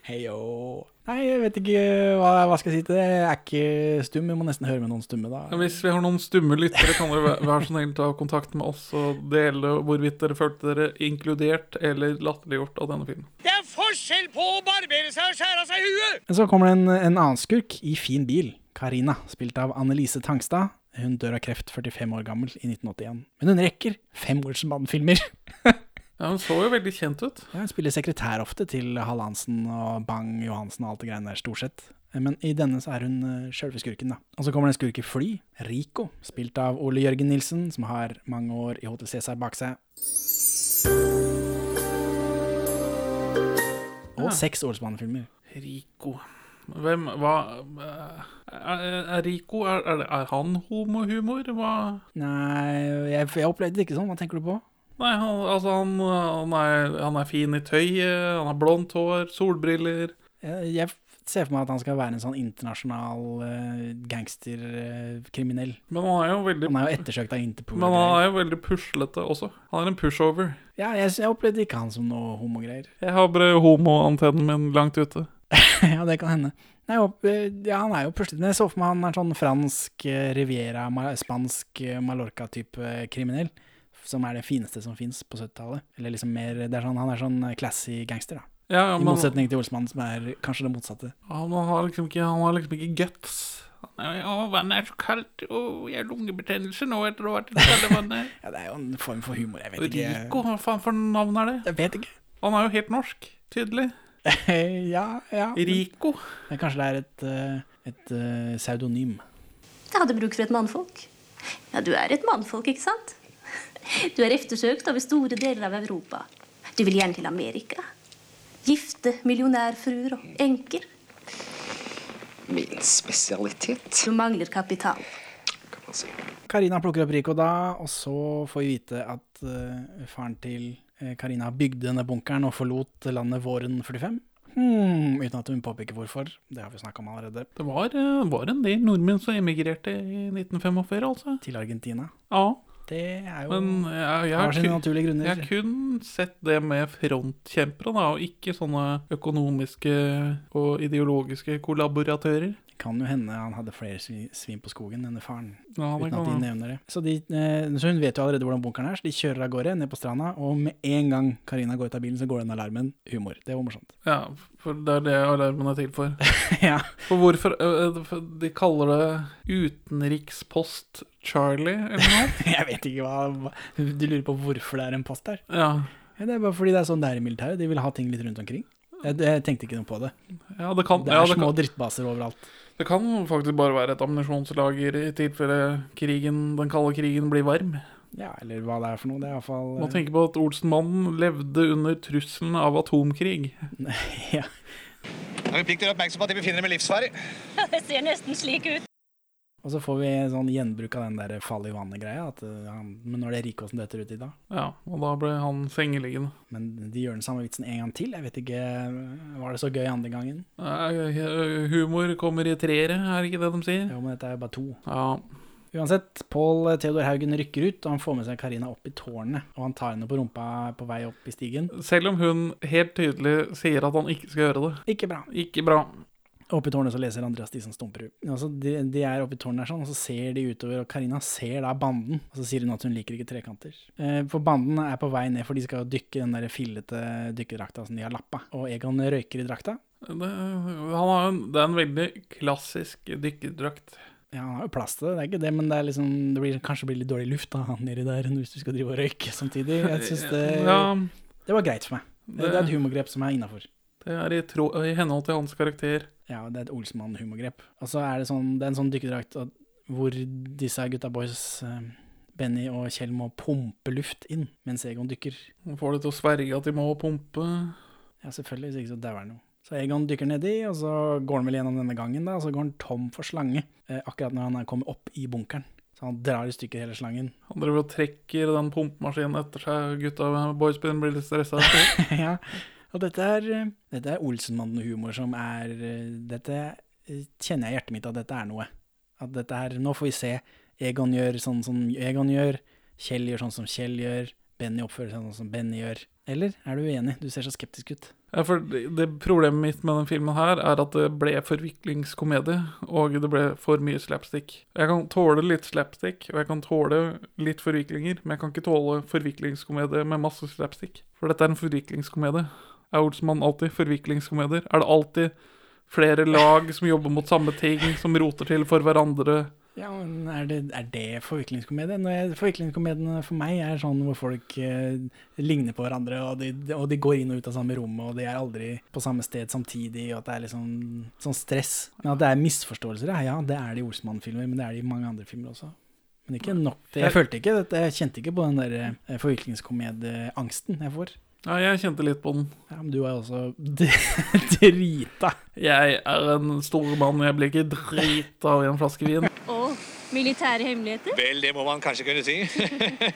Heyo. Nei, jeg vet ikke hva, hva skal jeg si til det. Jeg er ikke stum, jeg må nesten høre med noen stumme, da. Hvis vi har noen stumme lyttere, kan dere væ- være så snill ta kontakt med oss og dele hvorvidt dere følte dere inkludert eller latterliggjort av denne filmen. Det er forskjell på å barbere seg og skjære av seg huet! Men så kommer det en, en annen skurk i fin bil. Karina, spilt av Annelise Tangstad. Hun dør av kreft, 45 år gammel, i 1981. Men hun rekker fem Olsenbanden-filmer. Ja, Hun så jo veldig kjent ut. Ja, Hun spiller sekretær ofte til Hall Hansen og Bang Johansen og alt det greiene der, stort sett. Men i denne så er hun eh, sjølve skurken, da. Og så kommer det en skurk i fly, Rico, spilt av Ole Jørgen Nilsen, som har mange år i HT Cæsar bak seg. Og seks Olsenbanden-filmer. Rico. Hvem Hva Er, er Rico er, er, det- er han homohumor? Hva Nei, jeg, jeg opplevde det ikke sånn. Hva tenker du på? Nei, han, altså, han, han, er, han er fin i tøyet, han har blondt hår, solbriller Jeg, Eh, jeg ser for meg at han skal være en sånn internasjonal eh, gangsterkriminell. Men han er jo veldig han er jo ettersøkt av Interpol. Men og han greier. er jo veldig puslete også. Han er en pushover. Ja, jeg, jeg opplevde ikke han som noe homogreier. Jeg har bare homoantennen min langt ute. ja, det kan hende. Nei, jo, eh, ja, han er jo plutselig Men jeg så for meg han er sånn fransk eh, Riviera, ma spansk eh, Mallorca-type eh, kriminell. Som er det fineste som fins på 70-tallet. Eller liksom mer det er sånn, Han er sånn classy gangster, da. Ja, I men motsetning til Olsmannen, som er kanskje det motsatte. han har liksom ikke, han har liksom ikke guts. Nei, å, vannet er så kaldt, og jeg har lungebetennelse nå etter å ha vært i det kalde vannet. Ja, Det er jo en form for humor. Jeg vet ikke. Rico, hva faen for navn er det? Jeg vet ikke. Han er jo helt norsk, tydelig. ja, ja. Rico. Men kanskje det er et, eh, et eh, pseudonym. Jeg hadde bruk for et mannfolk. Ja, du er et mannfolk, ikke sant? Du er eftersøkt over store deler av Europa. Du vil gjerne til Amerika. Gifte millionærfruer og enker. Min spesialitet, Du mangler kapital. kan man si. Karina plukker opp Rico da, og så får vi vite at eh, faren til eh, Karina bygde denne bunkeren og forlot landet våren 45. Hmm, uten at hun påpeker hvorfor. Det har vi snakka om allerede. Det var, eh, var en del nordmenn som emigrerte i 1945, altså. Til Argentina. Ja. Det er jo Men jeg, jeg, har har sine kun, naturlige grunner. jeg har kun sett det med frontkjempere, da, og ikke sånne økonomiske og ideologiske kollaboratører. Kan jo hende han hadde flere svi- svin på skogen enn faren. Ja, det uten at kan de hende. nevner det. Så, de, eh, så hun vet jo allerede hvordan bunkeren er, så de kjører av gårde ned på stranda, og med en gang Karina går ut av bilen, så går den alarmen. Humor. Det var morsomt. Ja, for det er det alarmen er til for. ja. For hvorfor ø, ø, for De kaller det utenrikspost Charlie, eller noe? Jeg vet ikke hva hva- Du lurer på hvorfor det er en post der? Ja. Ja, Det er bare fordi det er sånn det er i militæret. De vil ha ting litt rundt omkring. Jeg, jeg tenkte ikke noe på det. Ja, det kan- det er ja, det små kan- drittbaser overalt. Det kan faktisk bare være et ammunisjonslager i tilfelle krigen, den kalde krigen blir varm. Ja, eller hva det er for noe. Det er iallfall Man tenker på at Olsenmannen levde under trusselen av atomkrig. ja. Har vi plikt til å gjøre oppmerksom på at de befinner seg med livsfare? Det ser nesten slik ut. Og så får vi sånn gjenbruk av den der fall i vannet-greia. at, eh, han- Men nå er det Rikåsen detter uti da. Ja, og da ble han sengeliggende. Men de gjør den samme vitsen en gang til. Jeg vet ikke eh, Var det så gøy andre gangen? Nei, Eh, Humor kommer i treere, er det ikke det de sier? Jo, men dette er jo bare to. Ja. Uansett, Pål Theodor Haugen rykker ut, og han får med seg Karina opp i tårnet. Og han tar henne på rumpa på vei opp i stigen. Selv om hun helt tydelig sier at han ikke skal gjøre det. Ikke bra. Ikke bra. Oppe i tårnet så leser Andreas Diesen Stumperud. Altså, de, de er oppe i tårnet der sånn, og så ser de utover, og Karina ser da banden. Og så sier hun at hun liker ikke trekanter. Eh, for banden er på vei ned, for de skal jo dykke i den der fillete dykkerdrakta som de har lappa. Og Egon røyker i drakta. Det, han har en, det er en veldig klassisk dykkerdrakt. Ja, han har jo plass til det, det er ikke det, men det, er liksom, det blir, kanskje blir litt dårlig luft da, nedi der hvis du skal drive og røyke samtidig. Jeg synes det, Ja. det var greit for meg. Det, det er et humorgrep som er innafor. Det er i, tro, i henhold til hans karakter. Ja, det er et Olsmann-humorgrep. Og så er det sånn, det er en sånn dykkerdrakt at- hvor disse gutta boys, eh, Benny og Kjell, må pumpe luft inn mens Egon dykker. Han får det til å sverge at de må pumpe. Ja, selvfølgelig, hvis ikke så dauer han jo. Så Egon dykker nedi, og så går han vel gjennom denne gangen, da, og så går han tom for slange eh, akkurat når han er kommet opp i bunkeren. Så han drar i stykker hele slangen. Han driver og trekker den pumpemaskinen etter seg. Gutta med boyspin blir litt stressa. ja. Og dette er, eh, dette er Olsenmannen-humor som er eh, Dette eh, kjenner jeg i hjertet mitt at dette er noe. At dette er Nå får vi se. Egon gjør sånn som Egon gjør. Kjell gjør sånn som Kjell gjør. Benny oppfører seg sånn som Benny gjør. Eller er du uenig? Du ser så skeptisk ut. Ja, for det det Problemet mitt med den filmen her er at det ble forviklingskomedie, og det ble for mye slapstick. Jeg kan tåle litt slapstick, og jeg kan tåle litt forviklinger, men jeg kan ikke tåle forviklingskomedie med masse slapstick. For dette er en forviklingskomedie. Er Olsmann alltid forviklingskomedier? Er det alltid flere lag som jobber mot samme ting, som roter til for hverandre? Ja, men er det, er det forviklingskomedie? Når jeg- Forviklingskomediene for meg er sånn hvor folk eh, ligner på hverandre, og de, og de går inn og ut av samme rommet, og de er aldri på samme sted samtidig, og at det er liksom sånn stress. Men at det er misforståelser, ja, ja det er det i Olsmann-filmer, men det er det i mange andre filmer også. Men ikke nok. til- Jeg følte ikke dette, jeg kjente ikke på den der eh, forviklingskomedieangsten jeg får. Ja, jeg kjente litt på den. Ja, men du er jo også drita. Jeg er en stor mann, jeg blir ikke drita av en flaske vin. Og militære hemmeligheter? Vel, det må man kanskje kunne si.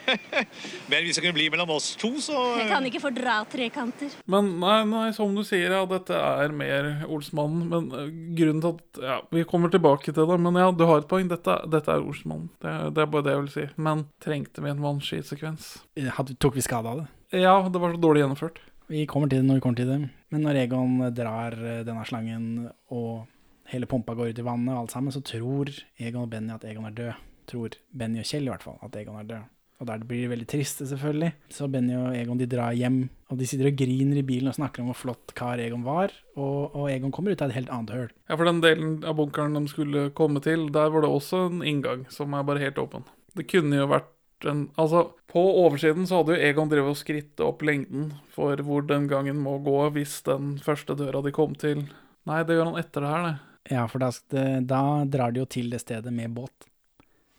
Men hvis det kunne bli mellom oss to, så Jeg kan ikke fordra trekanter. Men nei, nei, som du sier, ja, dette er mer Olsmannen. Men eh, grunnen til at Ja, vi kommer tilbake til det, men ja, du har et poeng. Dette, dette er Olsmannen. Det, er- det er bare det jeg vil si. Men trengte vi en vannskisekvens? Eh, Hadde- Tok vi skade av det? Ja, det var så dårlig gjennomført. Vi kommer til det når vi kommer til det. Men når Egon drar eh, denne slangen og hele pumpa går ut i vannet og alt sammen, så tror Egon og Benny at Egon er død. Tror Benny og Kjell i hvert fall at Egon er død. Og der blir de veldig triste, selvfølgelig. Så Benny og Egon de drar hjem, og de sitter og griner i bilen og snakker om hvor flott kar Egon var, og, og Egon kommer ut av et helt annet høl. Ja, for den delen av bunkeren de skulle komme til, der var det også en inngang som er bare helt åpen. Det kunne jo vært en Altså, på oversiden så hadde jo Egon drevet og skrittet opp lengden for hvor den gangen må gå hvis den første døra de kom til Nei, det gjør han etter det her, det. Ja, for da, eh, da drar de jo til det stedet med båt.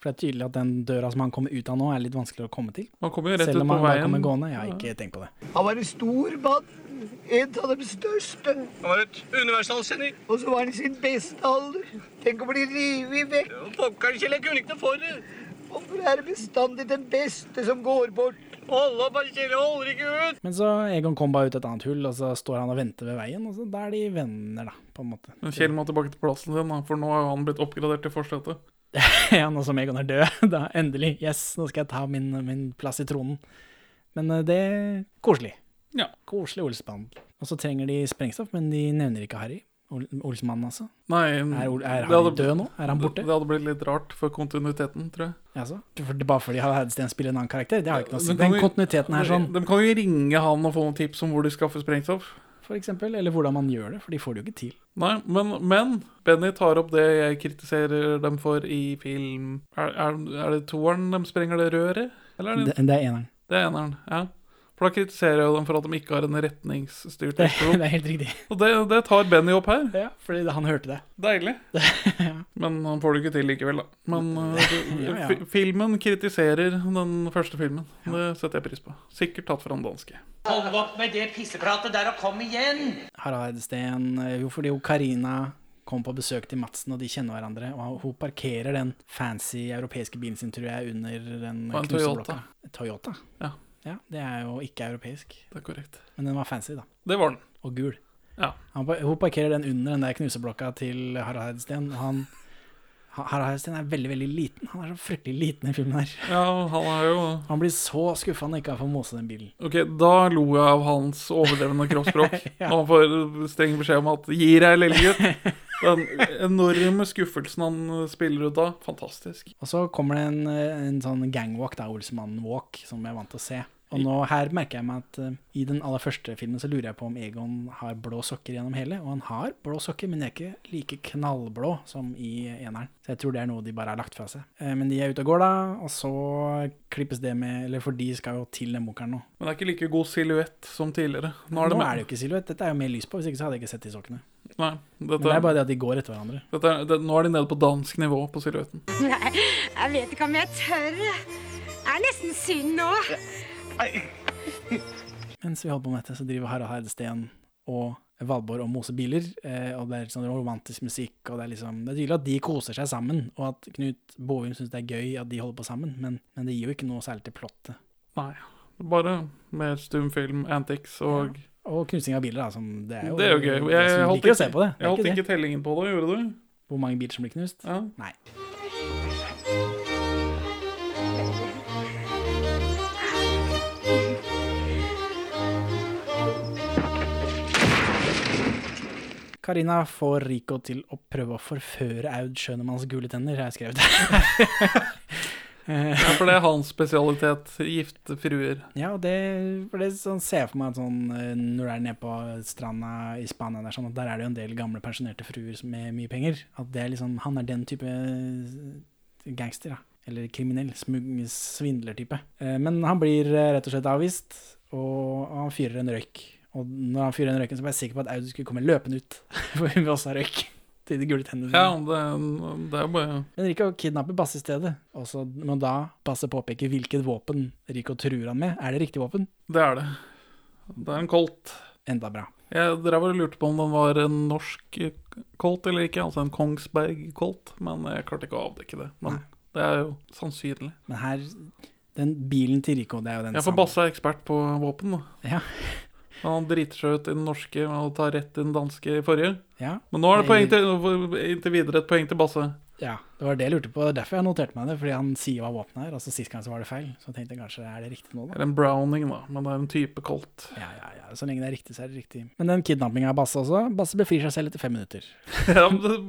For det er tydelig at den døra som han kommer ut av nå, er litt vanskeligere å komme til. Han kommer jo rett Selv ut om på han bare veien. kommer gående. Ja, ikke tenk på det. Han var en stor mann. En av de største. Han var et universalgeni. Og så var han i sin beste alder. Tenk å bli revet vekk. Pokkeren, Kjell, jeg kunne ikke noe for det. Hvorfor er det bestandig den beste som går bort? Hold opp, Kjell, jeg holder ikke ut. Men så Egon kom bare ut et annet hull, og så står han og venter ved veien, og så da er de venner, da, på en måte. Men Kjell må tilbake til plassen sin, da, for nå har jo han blitt oppgradert til forsetet. ja, nå som Egon er død, da endelig, yes, nå skal jeg ta min, min plass i tronen. Men eh, det er koselig. Ja. Koselig Olsmann. Og så trenger de sprengstoff, men de nevner ikke Harry. Ol Olsmannen, altså. Nei, Er, Ol- er Harry det hadde- død nå? Er han borte? Det, det hadde blitt litt rart for kontinuiteten, tror jeg. Altså, for, bare fordi Harald Heidesteen spiller en annen karakter? Det har jo ikke noe å si. Men kan Den vi- kontinuiteten her, sånn, De kan jo ringe han og få noen tips om hvor de skaffer sprengstoff. for eksempel. Eller hvordan man gjør det, for de får det jo ikke til. Nei, men, men Benny tar opp det jeg kritiserer dem for i film Er, er, er det toeren de sprenger det røret? Eller Det, det er eneren. Det er eneren, ja. For da kritiserer jeg dem for at de ikke har en retningsstyrt eksplosjon. Det er helt riktig. Og det, det tar Benny opp her. Ja, fordi han hørte det. Deilig. Men han får det ikke til likevel, da. Men eh, det- Ja, ja. fi- filmen kritiserer den første filmen. Det setter jeg pris på. Sikkert tatt fra den danske. Hold opp med det pissepratet der og kom igjen! Harald Heidesteen eh, Jo, fordi jo Karina kom på besøk til Madsen, og de kjenner hverandre. Og hun parkerer den fancy europeiske bilen sin, tror jeg, under den Og en knuseblokka. Toyota. Toyota? Ja. Det er jo ikke europeisk. Det er korrekt. Men den var fancy, da. Det var den. Og gul. Ja. Han, par- hun parkerer den under den der knuseblokka til Harald Heidesteen. og Han, Ha- Harald Heidesteen er veldig, veldig liten. Han er så fryktelig liten i filmen her. Ja, han er jo Han blir så skuffa når han ikke får mose den bilen. Ok, da lo jeg av hans overdrevne kroppsspråk. Når han får streng beskjed om at 'gi deg, lille gutt'. Den enorme skuffelsen han spiller ut av. Fantastisk. Og så kommer det en, en sånn gangwalk, da, Olsmann Walk, som jeg er vant til å se. Og nå her merker jeg meg at eh, i den aller første filmen så lurer jeg på om Egon har blå sokker gjennom hele. Og han har blå sokker, men de er ikke like knallblå som i eneren. Så jeg tror det er noe de bare har lagt fra seg. Eh, Men de er ute og går, da, og så klippes det med Eller for de skal jo til den bunkeren nå. Men det er ikke like god silhuett som tidligere. Nå er det, jo ikke silhuett, dette er jo mer lys på, hvis ikke så hadde jeg ikke sett de sokkene. Nei, dette, Men det er bare det at de går etter hverandre. dette er, det, nå er de nede på dansk nivå på silhuetten. Nei, jeg vet ikke om jeg tør. Det er nesten synd nå. Mens vi holder på med dette, så driver Harald Heidesteen og Valborg og Mose biler. Eh, og det er sånn romantisk musikk, og det er liksom Det er tydelig at de koser seg sammen, og at Knut Bovim syns det er gøy at de holder på sammen, men, men det gir jo ikke noe særlig til plottet. Nei. Bare mer stumfilm, antics og Og knusing av biler, da, som det er jo Det er jo gøy. Jeg, som holdt liker ikke, å se på det. Det jeg er holdt ikke ikke tellingen på det, gjorde du? det. Hvor mange biler som blir knust? Ja. Nei. Karina får Rico til å prøve å forføre Aud Schønemanns gule tenner, har jeg skrevet her. Eh, Ja, for det er hans spesialitet. Gifte fruer. ja, og det, for det er sånn, ser jeg for meg at sånn, eh, når det er nede på stranda i Spania, der, sånn, at der er det jo en del gamle pensjonerte fruer som- med mye penger. At det er liksom, han er den type eh, gangster, da. Eller kriminell. smug- Svindler-type. Eh, Men han blir eh, rett og slett avvist, og han fyrer en røyk. Og når han fyrer den røyken, så var jeg sikker på at Aud skulle komme løpende ut, for hun vil også ha røyk. Til de gule tennene. Ja, det, det er bare Men Rico kidnapper Bass i stedet, og så må da Basse påpeke hvilket våpen Rico truer han med. Er det riktig våpen? Det er det. Det er en colt. Enda bra. Jeg drev og lurte på om den var en norsk colt eller ikke, altså en Kongsberg-colt, men jeg klarte ikke å avdekke det. Men det er jo sannsynlig. Men her Den bilen til Rico, det er jo den Jeg får Basse er ekspert på våpen, da. Ja. Han driter seg ut i den norske og tar rett i den danske i forrige. Ja. Men nå er det Nei, poeng til, inntil videre et poeng til Basse. Ja, det var det jeg lurte på. Det er Derfor jeg noterte meg det. Fordi han sier hva våpenet er, og så sist gang så var det feil. Så tenkte jeg kanskje er det riktig nå, da. Eller en Browning, da, men det er en type colt. Ja, ja, ja. Så lenge det er riktig, så er det riktig. Men den kidnappinga av Basse også. Basse befrir seg selv etter fem minutter. Ja, men det,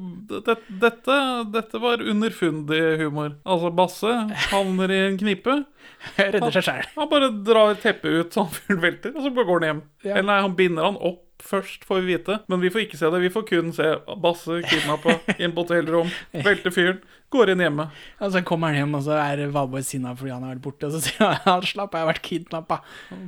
det, dette, dette var underfundig humor. Altså, Basse havner i en knipe. Redder seg Han- selv. Han bare drar teppet ut så han fyren velter, og så bare går han hjem. Ja. Eller nei, han binder han opp først, får vi vite. Men vi får ikke se det. Vi får kun se Basse kidnappa inn på hotellrom, velter fyren, går inn hjemme. Og så kommer han hjem, og så er Valborg sinna fordi han har vært borte. Og så sier han han slapp av, jeg har vært kidnappa.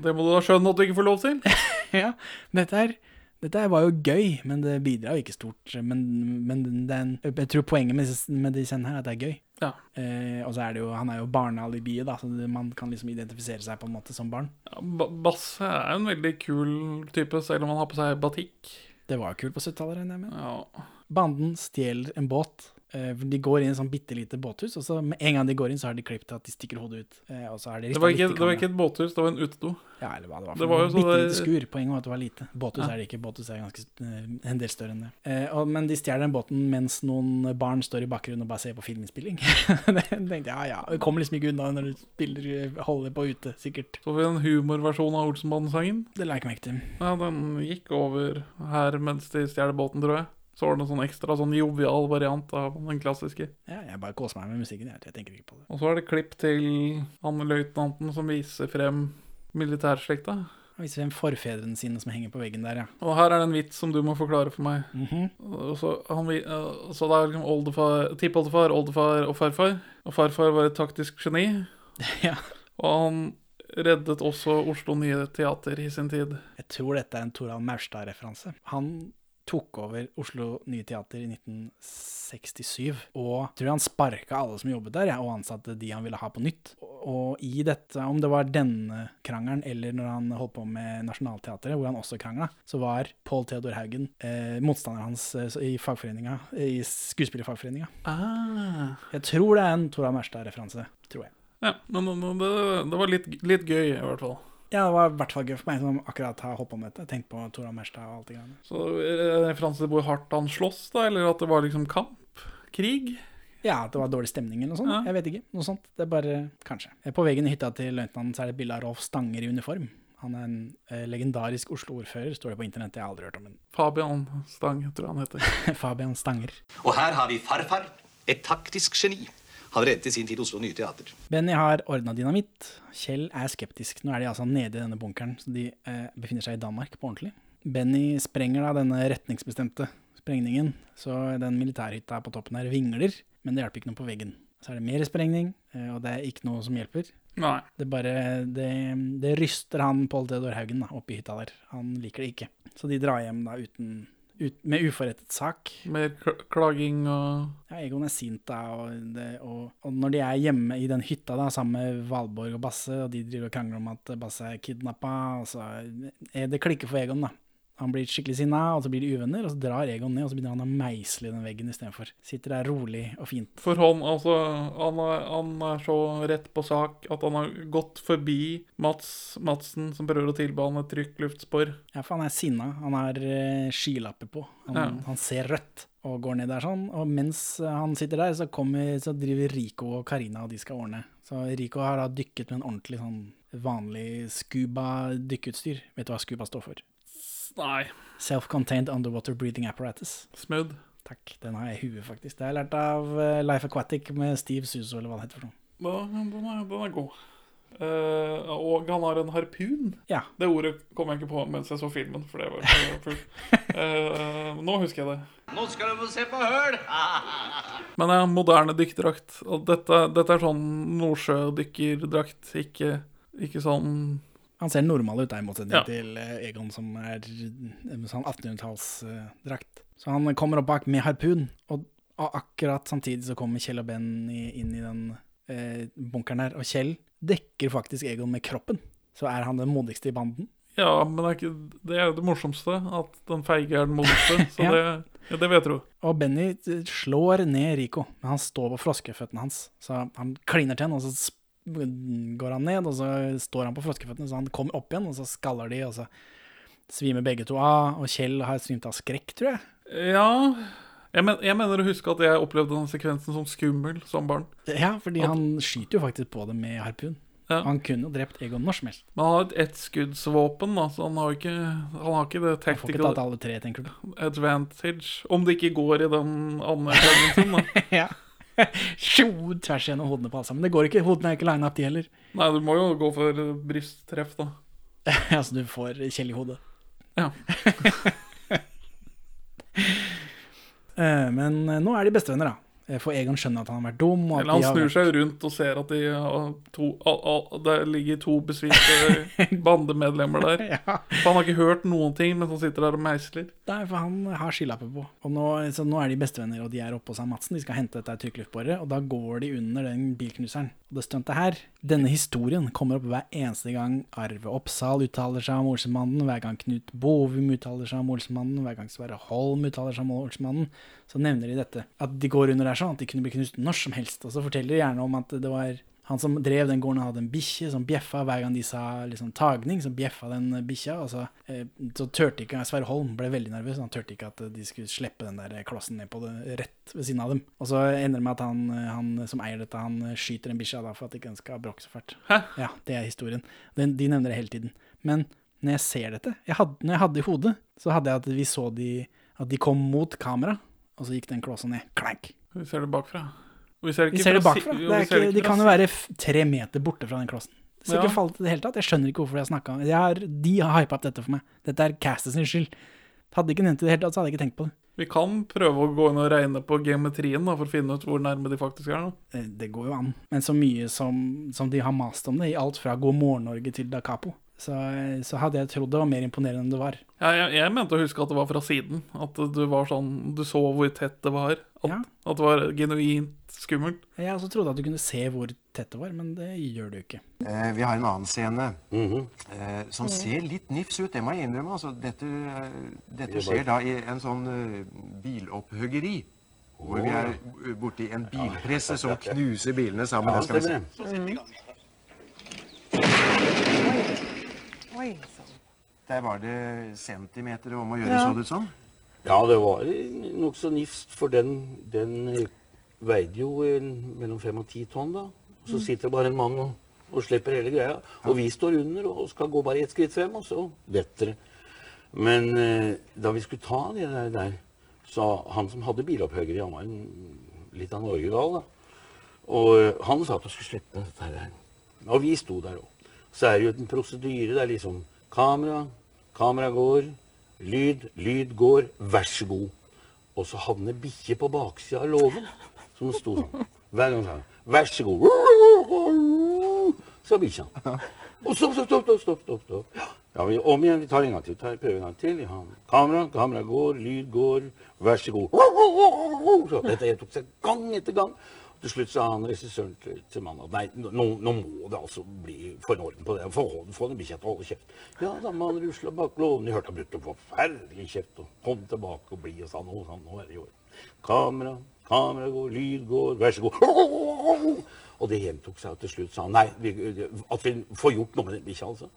Det må du da skjønne at du ikke får lov til. ja. Dette her dette her var jo gøy, men det bidrar jo ikke stort. Men, men den, jeg tror poenget med, med de scenene her er at det er gøy. Ja. Eh, og så er det jo, han er jo barnealibiet, da, så det, man kan liksom identifisere seg på en måte som barn. Ja, Ba- Basse er en veldig kul type, selv om han har på seg batikk. Det var jo kult på 70-tallet, regner jeg med. Ja. Banden stjeler en båt, Eh, for De går inn i et sånt bitte lite båthus, og så med en gang de går inn, så har de klippet at de stikker hodet ut. Eh, Og så er det Det var, ristet ikke, litt i det var kamera. ikke et båthus, det var en utedo. Ja, eller hva det var. Det var jo bitte lite sånn skur. Poenget var at det var lite. Båthus Ja. er det ikke. Båthus er ganske, eh, en del større enn det. Eh, og, men de stjeler den båten mens noen barn står i bakgrunnen og bare ser på filminnspilling. det tenkte jeg, ja ja. Vi kommer liksom ikke unna når du spiller eh, holder på ute, sikkert. Så får vi en humorversjon av Olsenbanden-sangen. Det la jeg ikke merke til. Ja, den gikk over her mens de stjeler båten, tror jeg. Så var det en sånn ekstra sånn jovial variant av den klassiske. Ja, jeg bare koser meg med musikken, jeg, jeg tenker ikke på det. Og så er det klipp til han løytnanten som viser frem militærslekta. Han viser frem forfedrene sine som henger på veggen der, ja. Og her er det en vits som du må forklare for meg. Mhm. Og så, han, vi- eh, så det er liksom oldefar, tippoldefar, oldefar og farfar. Og farfar var et taktisk geni. Og han reddet også Oslo Nye Teater i sin tid. Jeg tror dette er en Toralv Maurstad-referanse. Han tok over Oslo Nye Teater i 1967, og tror han sparka alle som jobbet der, ja, og ansatte de han ville ha på nytt. Og i dette, om det var denne krangelen eller når han holdt på med Nationaltheatret, hvor han også krangla, så var Pål Theodor Haugen eh, motstanderen hans eh, i fagforeninga, i Skuespillerfagforeninga. Ah. Jeg tror det er en Toralv Maurstad-referanse, tror jeg. Ja, men men det, det var litt, litt gøy, i hvert fall. Ja, det var i hvert fall gøy for meg som akkurat har holdt på med dette. Tenkt på Toralv Maurstad og alt det greiene. Så eh, referanse til hvor hardt han slåss, da? Eller at det var liksom kamp? Krig? Ja, at det var dårlig stemning eller noe sånt. Jeg vet ikke. Noe sånt. Det er bare kanskje. Eh, På veggen i hytta til løytnanten så er det et bilde av Rolf Stanger i uniform. Han er en eh, legendarisk Oslo-ordfører, står det på internett. Jeg har aldri hørt om ham. Fabian Stang, tror jeg han heter. Fabian Stanger. Og her har vi farfar, et taktisk geni. Han reddet i sin tid Oslo Nye Teater. Benny har ordna dynamitt. Kjell er skeptisk. Nå er de altså nede i denne bunkeren, så de eh, befinner seg i Danmark på ordentlig. Benny sprenger da denne retningsbestemte sprengningen, så den militærhytta på toppen her vingler, men det hjelper ikke noe på veggen. Så er det mer sprengning, eh, og det er ikke noe som hjelper. Nei. Det bare Det, det ryster han Pål Theodor Haugen da, oppi hytta der. Han liker det ikke. Så de drar hjem da uten ut, med uforrettet sak. Mer kl- klaging og Ja, Egon er sint da, og, det, og, og når de er hjemme i den hytta da, sammen med Valborg og Basse, og de driver og krangler om at Basse er kidnappa, og så er det klikker for Egon, da. Han blir skikkelig sinna, og så blir de uvenner, og så drar Egon ned, og så begynner han å meisle den veggen istedenfor. Sitter der rolig og fint. For han, altså, han er, han er så rett på sak at han har gått forbi Mats Madsen, som prøver å tilby han et trykkluftspor. Ja, for han er sinna. Han har eh, skylapper på. Han, Ja. han ser rødt og går ned der sånn. Og mens han sitter der, så, kommer, så driver Rico og Karina og de skal ordne. Så Rico har da dykket med en ordentlig sånn vanlig scuba-dykkeutstyr. Vet du hva scuba står for? Nei. Self-contained underwater breathing apparatus. Smooth. Takk. Den har jeg i huet, faktisk. Det har jeg lært av eh, Life Aquatic med Steve Suso, eller hva det heter for noe. Da, den, er, den er god. Eh, og han har en harpun. Ja. Det ordet kom jeg ikke på mens jeg så filmen. For det var for, for, Eh, Nå husker jeg det. Nå skal du få se på høl! Men ja, moderne dykkerdrakt. Og dette, dette er sånn nordsjødykkerdrakt, ikke, ikke sånn Han ser normal ut, da, i motsetning Ja. til eh, Egon, som er eh, med sånn 1800-tallsdrakt. så han kommer opp bak med harpun, og a- akkurat samtidig så kommer Kjell og Benny inn i den eh, bunkeren der. Og Kjell dekker faktisk Egon med kroppen. Så er han den modigste i banden. Ja, men det er, ikke, det er jo det morsomste. At den feige er den modigste. Så Ja. det, ja, det vet du. Og Benny eh, slår ned Rico, men han står på froskeføttene hans. Så han kliner til henne, og så sp- går han ned, og så står han på froskeføttene, så han kommer opp igjen, og så skaller de, og så svimer begge to av. Og Kjell har svimt av skrekk, tror jeg. Ja jeg, men, jeg mener å huske at jeg opplevde den sekvensen som skummel som barn. Ja, fordi At- han skyter jo faktisk på det med harpun. Ja. Han kunne jo drept Egon når som helst. Men han har et ettskuddsvåpen, da, så han har ikke, han har ikke det Han får ikke tactical tatt alle tre, tenker du. advantage. Om det ikke går i den andre sekvensen, da. ja. Sjo, tvers gjennom hodene på alle sammen. Det går ikke, hodene er ikke lange nok, de heller. Nei, du må jo gå for eh, brysttreff, da. altså, du får Kjell i hodet. Ja. Eh, Men eh, nå er de bestevenner, da. Eh, For Egon skjønner at han har vært dum. Og at Eller han de har snur seg rundt og ser at de har to, al, al, det ligger to besvimte bandemedlemmer der. For han har ikke hørt noen ting mens han sitter der og meisler. Nei, for han har skylapper på. Og nå, så nå er de bestevenner, og de er oppe hos han Madsen. De skal hente dette trykkluftboret, og da går de under den bilknuseren. Og det stuntet her Denne historien kommer opp hver eneste gang Arve Oppsal uttaler seg om Olsenmannen, hver gang Knut Bovum uttaler seg om Olsenmannen, hver gang Sverre Holm uttaler seg om Olsenmannen. Så nevner de dette. At de går under der sånn at de kunne bli knust når som helst. Og så forteller de gjerne om at det var han som drev den gården, hadde en bikkje som bjeffa hver gang de sa liksom, tagning. Så bjeffa den bikkja. Og så, eh, så turte ikke Sverre Holm ble veldig nervøs. Han turte ikke at eh, de skulle slippe den der klossen ned på det rett ved siden av dem. Og så ender det med at han, eh, han som eier dette, han eh, skyter en bikkja da for at ikke den skal bråke så fælt. Ja, det er historien. Den, de nevner det hele tiden. Men når jeg ser dette, jeg hadde, når jeg hadde i hodet, så hadde jeg at vi så de At de kom mot kamera, og så gikk den klossen ned. Klank. Vi ser det bakfra. Og Vi ser det, Vi ikke ser det fra si- bakfra. jo, Det vi er ser det ikke, ikke de fra kan jo si- være f- tre meter borte fra den klossen. Så Ja. ikke falt i det hele tatt. Jeg skjønner ikke hvorfor jeg snakka om det. Jeg har- De har hypa opp dette for meg. Dette er castet sin skyld. Hadde de ikke nevnt det i det hele tatt, så hadde jeg ikke tenkt på det. Vi kan prøve å gå inn og regne på geometrien da, for å finne ut hvor nærme de faktisk er. nå. Eh, Det går jo an. Men så mye som, som de har mast om det, i alt fra God morgen Norge til Da Capo, så, eh, så hadde jeg trodd det var mer imponerende enn det var. Jeg, jeg, jeg mente å huske at det var fra siden. At du var sånn, du så hvor tett det var. At, at det var genuint skummelt. Jeg også trodde at du kunne se hvor tett det var, men det gjør du jo ikke. Eh, vi har en annen scene eh, som ser litt nifs ut, det må jeg innrømme. Altså, dette eh, Det er dette bare- skjer da i en sånn eh, bilopphuggeri. Hvor vi er borti en bilpresse som knuser bilene sammen. Ja, det skal vi se. stemmer Oi, sann. Der var det centimeter om å gjøre, Ja. så det ut som. Ja, det var nokså nifst, for den, den eh, veide jo en- mellom fem og ti tonn, da. Og så Mm. sitter bare en mann og, og slipper hele greia. Og vi står under og skal gå bare ett skritt frem, og så detter det. Men eh, da vi skulle ta det der, der så han som hadde bilopphøggeri, han var en, litt av en orgelgal, da. Og eh, han sa at han skulle slippe dette her. Og vi sto der òg. Så er det jo en prosedyre. Det er liksom kamera, kamera går, lyd, lyd går, vær så god. Og så havner bikkje på baksida av låven, som sto sånn. Hver gang sa han, vær så god. Så bikkja. Og stopp, stopp, stopp, stopp, stopp, stopp, stopp. Ja, vi, om igjen, vi tar en gang til. Tar, prøver en gang til. Ja. Kamera, kamera går, lyd går, vær så god. Så dette tok seg gang etter gang. Til slutt sa han regissøren til, til mannen at nei, nå, nå- nå må det altså bli fornorden på det. Få, få den bikkja til å holde kjeft. Ja, da må han rusla bak låven. De hørte han brukte forferdelig kjeft. Og kom tilbake og bli og sa nå, sa han, nå er det i orden. Kamera, kamera går, lyd går, vær så god. Og det gjentok seg, og til slutt sa han nei, vi, at vi får gjort noe med den bikkja, altså.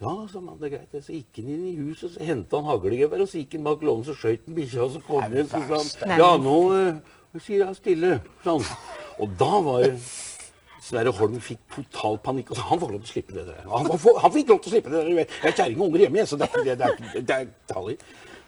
Ja, sa han, det er greit. det». Så gikk han inn i huset, så henta han haglegevær, og så gikk han bak låven, så skjøt han bikkja, og så kom han igjen, så sa Nei. han ja, nå eh, sier jeg stille, sa han. Og da var Sverre Holm fikk total panikk. Altså, han får lov til å slippe det der. Han, får, han fikk lov til å slippe det der. du vet. Jeg har kjerring og unger hjemme, jeg, så det, er ikke- det, det, er ikke- det er ikke tall i.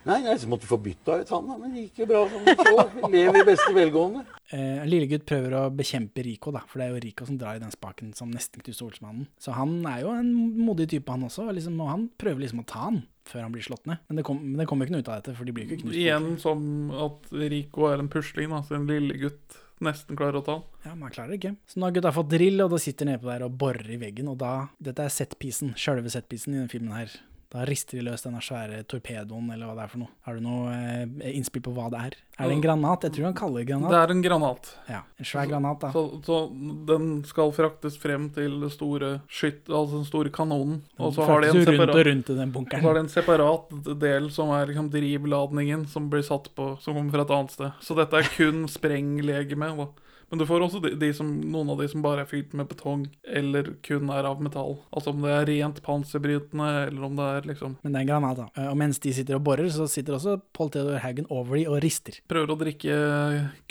Nei, nei, så måtte vi få bytta ut han, da. Men det gikk jo bra som det så. Lever i beste velgående. Eh, Lillegutt prøver å bekjempe Rico, da, for det er jo Rico som drar i den spaken som nesten knuste Olsmannen. Så han er jo en modig type, han også, og liksom, og han prøver liksom å ta han før han blir slått ned. Men det kom- men det kommer ikke noe ut av dette, for de blir jo ikke knust. Igjen som at Rico er en pusling, da, så en lille gutt nesten klarer å ta han. Ja, men han klarer det ikke. Så nå har gutta fått drill, og da sitter de nedpå der og borer i veggen, og da Dette er setpisen, sjølve setpisen i denne filmen her. Da rister de løs denne svære torpedoen, eller hva det er for noe. Har du noe eh, innspill på hva det er? Er det en granat? Jeg tror han kaller det granat. Det er en granat. Ja, en svær granat, da. Så, så den skal fraktes frem til det store skytt, altså den store kanonen. Og så har de en fraktes jo rundt separat, og rundt i den bunkeren. og så har de en separat del som er liksom drivladningen som blir satt på, som kommer fra et annet sted. Så dette er kun sprenglegeme. da. Men du får også de, de som, noen av de som bare er fylt med betong, eller kun er av metall. Altså om det er rent panserbrytende, eller om det er liksom Men det er en granat, da. Eh, Og mens de sitter og borer, så sitter også Paul Theodor Haugen over de og rister. Prøver å drikke